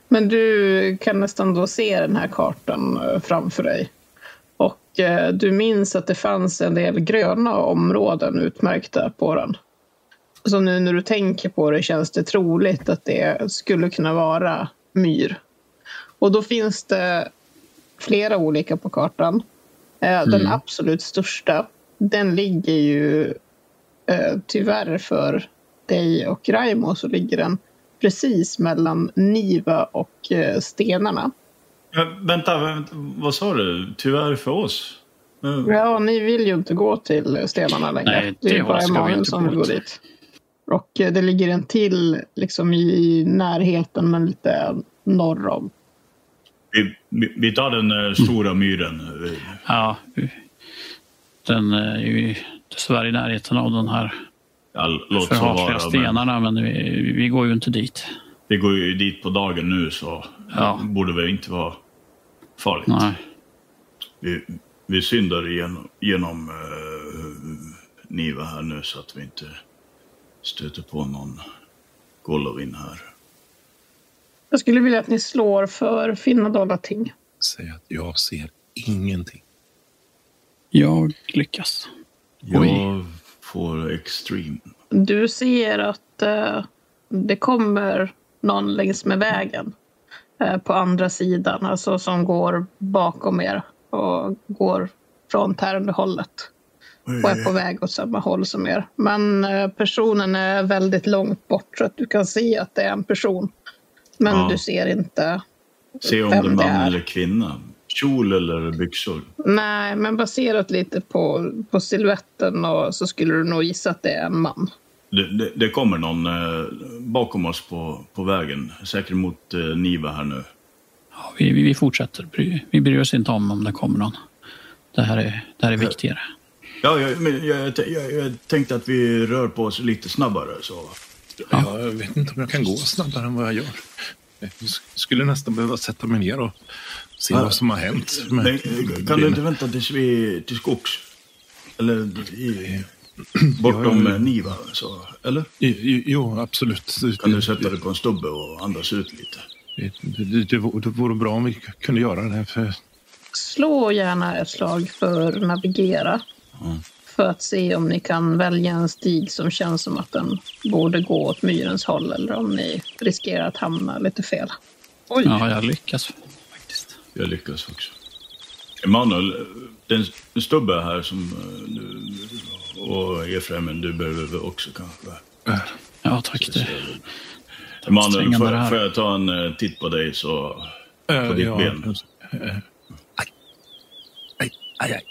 Speaker 2: Men du kan nästan då se den här kartan eh, framför dig. Och eh, du minns att det fanns en del gröna områden utmärkta på den. Så nu när du tänker på det känns det troligt att det skulle kunna vara myr. Och då finns det flera olika på kartan. Eh, Den absolut största, den ligger ju eh, tyvärr för dig och Raimo så ligger den precis mellan Niva och eh, stenarna.
Speaker 1: Ja, vänta, vänta, vad sa du? Tyvärr för oss? Eh,
Speaker 2: Ja, ni vill ju inte gå till stenarna längre.
Speaker 4: Nej,
Speaker 2: det är ju
Speaker 4: det
Speaker 2: bara
Speaker 4: ska vi
Speaker 2: Emanuel
Speaker 4: inte
Speaker 2: som
Speaker 4: gå
Speaker 2: vill gå
Speaker 4: till.
Speaker 2: dit. Och eh, det ligger en till liksom i närheten men lite norr om.
Speaker 1: Vi, vi, vi tar den eh, stora myren. eh,
Speaker 4: Ja, den är ju dessvärre i närheten av den här
Speaker 1: Ja, låt så
Speaker 4: förhatliga
Speaker 1: vara. Men
Speaker 4: stenarna, men vi, vi går ju inte dit.
Speaker 1: vi går ju dit på dagen nu så
Speaker 4: Ja.
Speaker 1: det borde väl inte vara farligt.
Speaker 4: Nej.
Speaker 1: Vi, vi syndar genom, genom eh, Niva här nu så att vi inte stöter på någon Golovin här.
Speaker 2: Jag skulle vilja att ni slår för finna dolda ting.
Speaker 3: Säg att jag ser ingenting.
Speaker 4: Jag lyckas.
Speaker 1: Jag
Speaker 4: Oj.
Speaker 1: får extreme.
Speaker 2: Du ser att eh, det kommer någon längs med vägen eh, på andra sidan, alltså som går bakom er och går från tärande hållet och är på väg åt samma håll som er. Men eh, personen är väldigt långt bort så att du kan se att det är en person. Men
Speaker 1: Ja.
Speaker 2: du ser inte.
Speaker 1: Se om det
Speaker 2: Vem
Speaker 1: är
Speaker 2: det
Speaker 1: man
Speaker 2: är.
Speaker 1: eller kvinna. Kjol eller byxor.
Speaker 2: Nej, men baserat lite på, på siluetten och så skulle du nog gissa att det är en man.
Speaker 1: Det, det, det kommer någon eh, bakom oss på, på vägen. Säkert mot eh, Niva här nu.
Speaker 4: Ja, vi, vi, vi fortsätter. Bry- Vi bryr oss inte om om det kommer någon. Det här är, det här är viktigare.
Speaker 1: Ja, jag, men jag, jag, jag, jag tänkte att vi rör på oss lite snabbare. Så.
Speaker 3: Jag vet inte om jag kan gå snabbare än vad jag gör. Jag sk- skulle nästan behöva sätta mig ner och se vad som har hänt. med
Speaker 1: Men, eh, kan du inte
Speaker 3: benen.
Speaker 1: vänta tills vi till skogs? Eller i, bortom eh, Niva? Så, eller?
Speaker 3: Jo, jo, absolut.
Speaker 1: Kan du sätta dig på en stubbe och andas ut lite?
Speaker 3: Det, det, det, vore- det vore bra om vi kunde göra det här. För
Speaker 2: Slå gärna ett slag för navigera. För att se om ni kan välja en stig som känns som att den borde gå åt myrens håll eller om ni riskerar att hamna lite fel. Oj!
Speaker 4: Ja, jag lyckas faktiskt.
Speaker 1: Jag lyckas också. Emanuel, det är en stubbe här som eh, du, och Efraim, du behöver också kanske.
Speaker 3: äh.
Speaker 4: Ja, tack. Det,
Speaker 1: Emanuel,
Speaker 4: strängande
Speaker 1: får,
Speaker 4: det här.
Speaker 1: jag- får jag ta en eh, titt på dig så...
Speaker 3: Äh,
Speaker 1: ditt ben.
Speaker 3: eh, aj. Aj, aj, aj.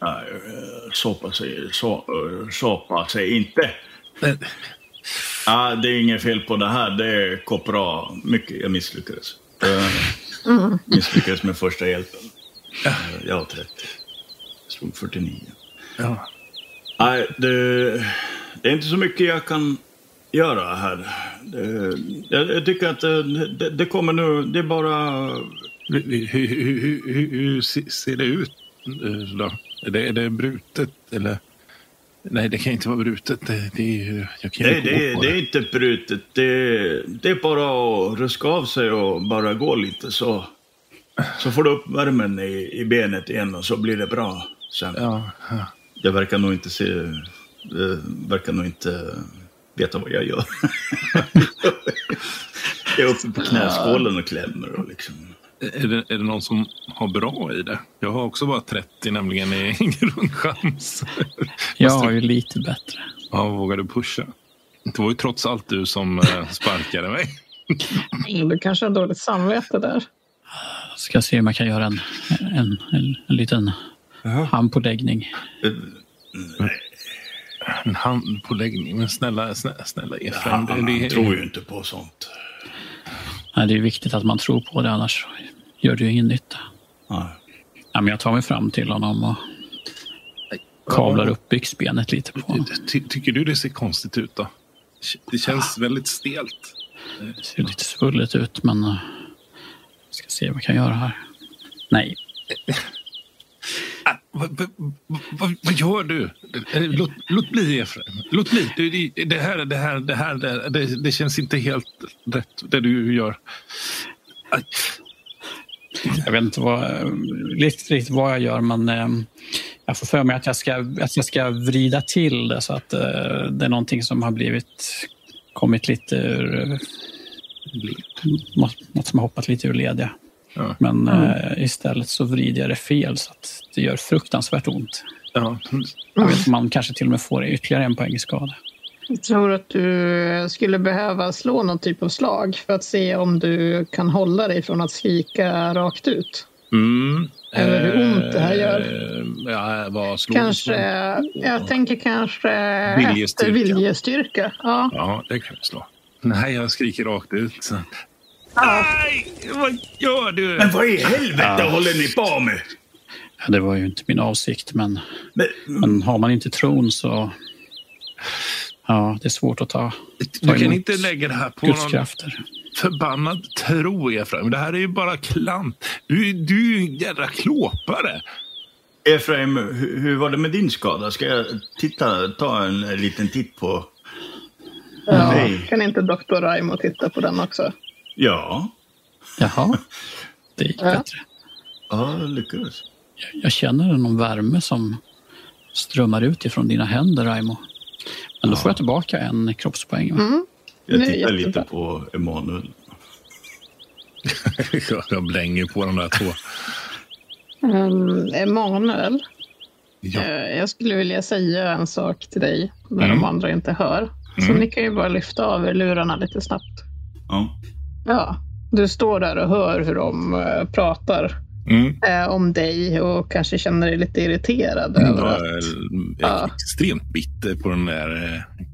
Speaker 1: Nej, eh, såpa sig, så, eh, såpa sig inte.
Speaker 3: Men,
Speaker 1: Ah, det är inget fel på det här, det är kopra. Mycket, jag misslyckades. Eh, Misslyckades med första hjälpen. Eh, Jag har 30. Jag slog 49.
Speaker 3: Ja.
Speaker 1: Nej, det, det är inte så mycket jag kan göra här. Det, jag, jag tycker att det, det, det kommer nu, det är bara...
Speaker 3: Vi- vi- Hur, hur, hur, hur, hur se- ser det ut eh, då? Är det, är det brutet eller? Nej, det kan inte vara brutet. Det, det är ju... Jag kan
Speaker 1: Det,
Speaker 3: inte
Speaker 1: det,
Speaker 3: gå på
Speaker 1: det är inte brutet, det, det är bara att ruska av sig och bara gå lite så, så får du upp värmen i, i benet igen och så blir det bra sen.
Speaker 3: Ja, ja.
Speaker 1: Jag verkar nog inte se... eh, verkar nog inte veta vad jag gör. *laughs* jag är uppe på knäskålen och klämmer och liksom...
Speaker 3: Är det, är det någon som har bra i det? Jag har också bara 30 nämligen i *laughs* grundchans.
Speaker 4: jag har ju lite bättre.
Speaker 3: Ja, vågar du pusha? Det var ju trots allt du som eh, sparkade mig.
Speaker 2: Mm, Du kanske har dåligt samvete där.
Speaker 4: Ska se om jag kan göra en, en, en, en liten handpåläggning.
Speaker 3: En handpåläggning. Men snälla, snälla, snälla Efraim.
Speaker 1: Han,
Speaker 3: det-
Speaker 1: han,
Speaker 3: det-
Speaker 1: han tror ju inte på sånt.
Speaker 4: Nej, det är viktigt att man tror på det, annars gör det ju ingen nytta.
Speaker 1: Nej.
Speaker 4: Ja, men jag tar mig fram till honom och kavlar upp byxbenet lite på honom.
Speaker 3: Ty, tycker du det ser konstigt ut då? Det känns väldigt stelt.
Speaker 4: Det ser lite svullet ut, men eh, ska se vad jag kan göra här. Nej,
Speaker 3: Ah, vad, vad, vad, vad gör du? Eh, Låt, låt bli Efraim. Låt bli. Det, det, det här, det här, det här, det, här, det, det känns inte helt rätt det du gör. Aj.
Speaker 4: Jag vet inte vad, eh, riktigt, riktigt vad jag gör, men eh, jag får för mig att jag ska, att jag ska vrida till det så att eh, det är någonting som har blivit kommit lite ur... eh, Något, något som har hoppat lite ur led, ja.
Speaker 3: Ja.
Speaker 4: Men eh, istället så vrider jag det fel så att det gör fruktansvärt ont.
Speaker 3: Ja.
Speaker 4: Jag
Speaker 3: Mm.
Speaker 4: vet, man kanske till och med får ytterligare en poäng i skada.
Speaker 2: Jag tror att du skulle behöva slå någon typ av slag för att se om du kan hålla dig från att skrika rakt ut.
Speaker 3: Mm.
Speaker 2: Eller hur ont det här gör.
Speaker 3: Eh, Ja, vad slog
Speaker 2: Kanske, jag tänker kanske efter
Speaker 3: Viljestyrka.
Speaker 2: viljestyrka. Ja.
Speaker 3: Ja, det kan vi slå. Nej, jag skriker rakt ut. Så. Nej, vad gör du?
Speaker 1: Men vad i helvete håller ni på med?
Speaker 4: Ja, det var ju inte min avsikt, men,
Speaker 1: Men,
Speaker 3: Mm.
Speaker 4: men har man inte tron så... Ja, det är svårt att ta, ta
Speaker 3: Du kan
Speaker 4: emot.
Speaker 3: inte lägga det här på
Speaker 4: Guds
Speaker 3: någon
Speaker 4: krafter.
Speaker 3: förbannad tro, Efraim. Det här är ju bara klant. Du, du är ju en jävla klåpare.
Speaker 1: Efraim, hur, hur var det med din skada? Ska jag titta, ta en liten titt på...
Speaker 2: Ja.
Speaker 1: Nej.
Speaker 2: Kan inte doktor Raimo titta på den också?
Speaker 1: Ja,
Speaker 4: Jaha, det gick
Speaker 2: Ja.
Speaker 4: bättre.
Speaker 1: ja jag lyckades.
Speaker 4: Jag känner någon värme som strömmar ut ifrån dina händer, Raimo. Men då får jag tillbaka en kroppspoäng. va?
Speaker 1: Jag
Speaker 2: Nej,
Speaker 1: tittar
Speaker 2: jättebra.
Speaker 1: lite på Emanuel.
Speaker 3: Jag blänger på *laughs* de där två.
Speaker 2: Ehm, Emanuel,
Speaker 3: Ja.
Speaker 2: eh, jag skulle vilja säga en sak till dig när de andra inte hör. Så ni kan ju bara lyfta av er lurarna lite snabbt.
Speaker 1: Ja.
Speaker 2: Ja, du står där och hör hur de eh, pratar
Speaker 3: Mm.
Speaker 2: eh, om dig och kanske känner dig lite irriterad. över
Speaker 3: Jag
Speaker 2: att-
Speaker 3: är
Speaker 2: Ja.
Speaker 3: extremt bitter på den där... eh, *laughs*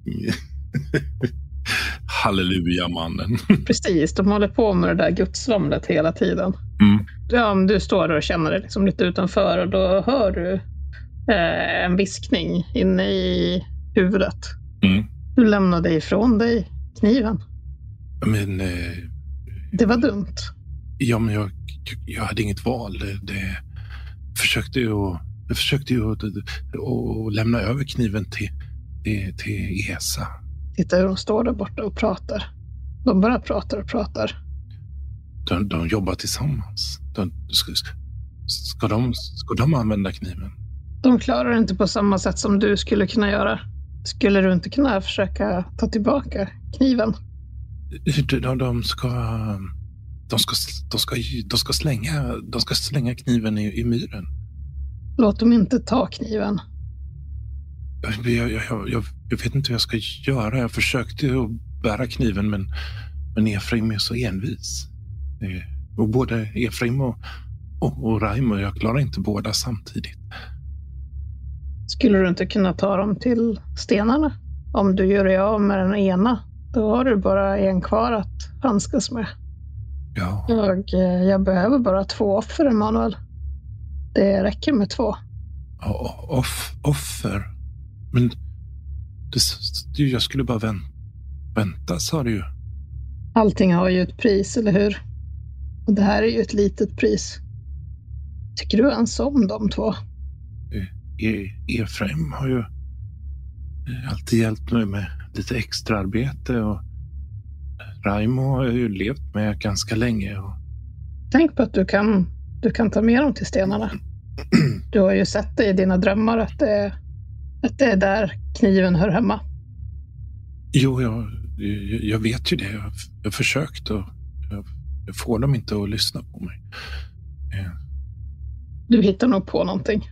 Speaker 3: Hallelujamannen.
Speaker 2: Precis, de håller på med det där gudsvamlet hela tiden.
Speaker 3: Mm.
Speaker 2: Ja, om du står där och känner dig liksom lite utanför och då hör du eh, en viskning inne i huvudet.
Speaker 3: Mm.
Speaker 2: Du lämnade ifrån dig kniven.
Speaker 3: Men, eh,
Speaker 2: Det var dumt.
Speaker 3: ja, men jag, jag hade inget val. Det, det, jag försökte ju, att- jag försökte ju att, att, att lämna över kniven till, till, till Esa.
Speaker 2: Titta hur de står där borta och pratar. De bara pratar och pratar.
Speaker 3: De, de jobbar tillsammans. De, ska, ska, de, ska de använda kniven?
Speaker 2: De klarar det inte på samma sätt som du skulle kunna göra. Skulle du inte kunna försöka ta tillbaka kniven?
Speaker 3: De, de, de ska... De ska, de, ska, de, ska slänga, de ska slänga kniven i, i myren.
Speaker 2: Låt dem inte ta kniven.
Speaker 3: Jag, jag, jag, jag, jag vet inte hur jag ska göra. Jag försökte ju att bära kniven, men, men Efraim är så envis. Eh, Och både Efraim och, och, och Raimo, jag klarar inte båda samtidigt.
Speaker 2: Skulle du inte kunna ta dem till stenarna? Om du gör dig av med den ena, då har du bara en kvar att handskas med.
Speaker 3: Ja,
Speaker 2: Jag, eh, jag behöver bara två offer, Emanuel. Det räcker med två.
Speaker 3: och- och off, offer. Men det, s- du, jag skulle bara vänta, vänta sa du ju.
Speaker 2: Allting har ju ett pris, eller hur? Och det här är ju ett litet pris. Tycker du ens om de två?
Speaker 3: E- Efraim har ju eh, alltid hjälpt mig med lite extraarbete och Raimo har jag ju levt med ganska länge. Och
Speaker 2: Tänk på att du kan, du kan ta med dem till stenarna. Du har ju sett det i dina drömmar att det, är- att det är där kniven hör hemma.
Speaker 3: Jo, jag, jag- jag vet ju det. Jag jag har försökt och jag- jag får dem inte att lyssna på mig.
Speaker 2: Du hittar nog på någonting.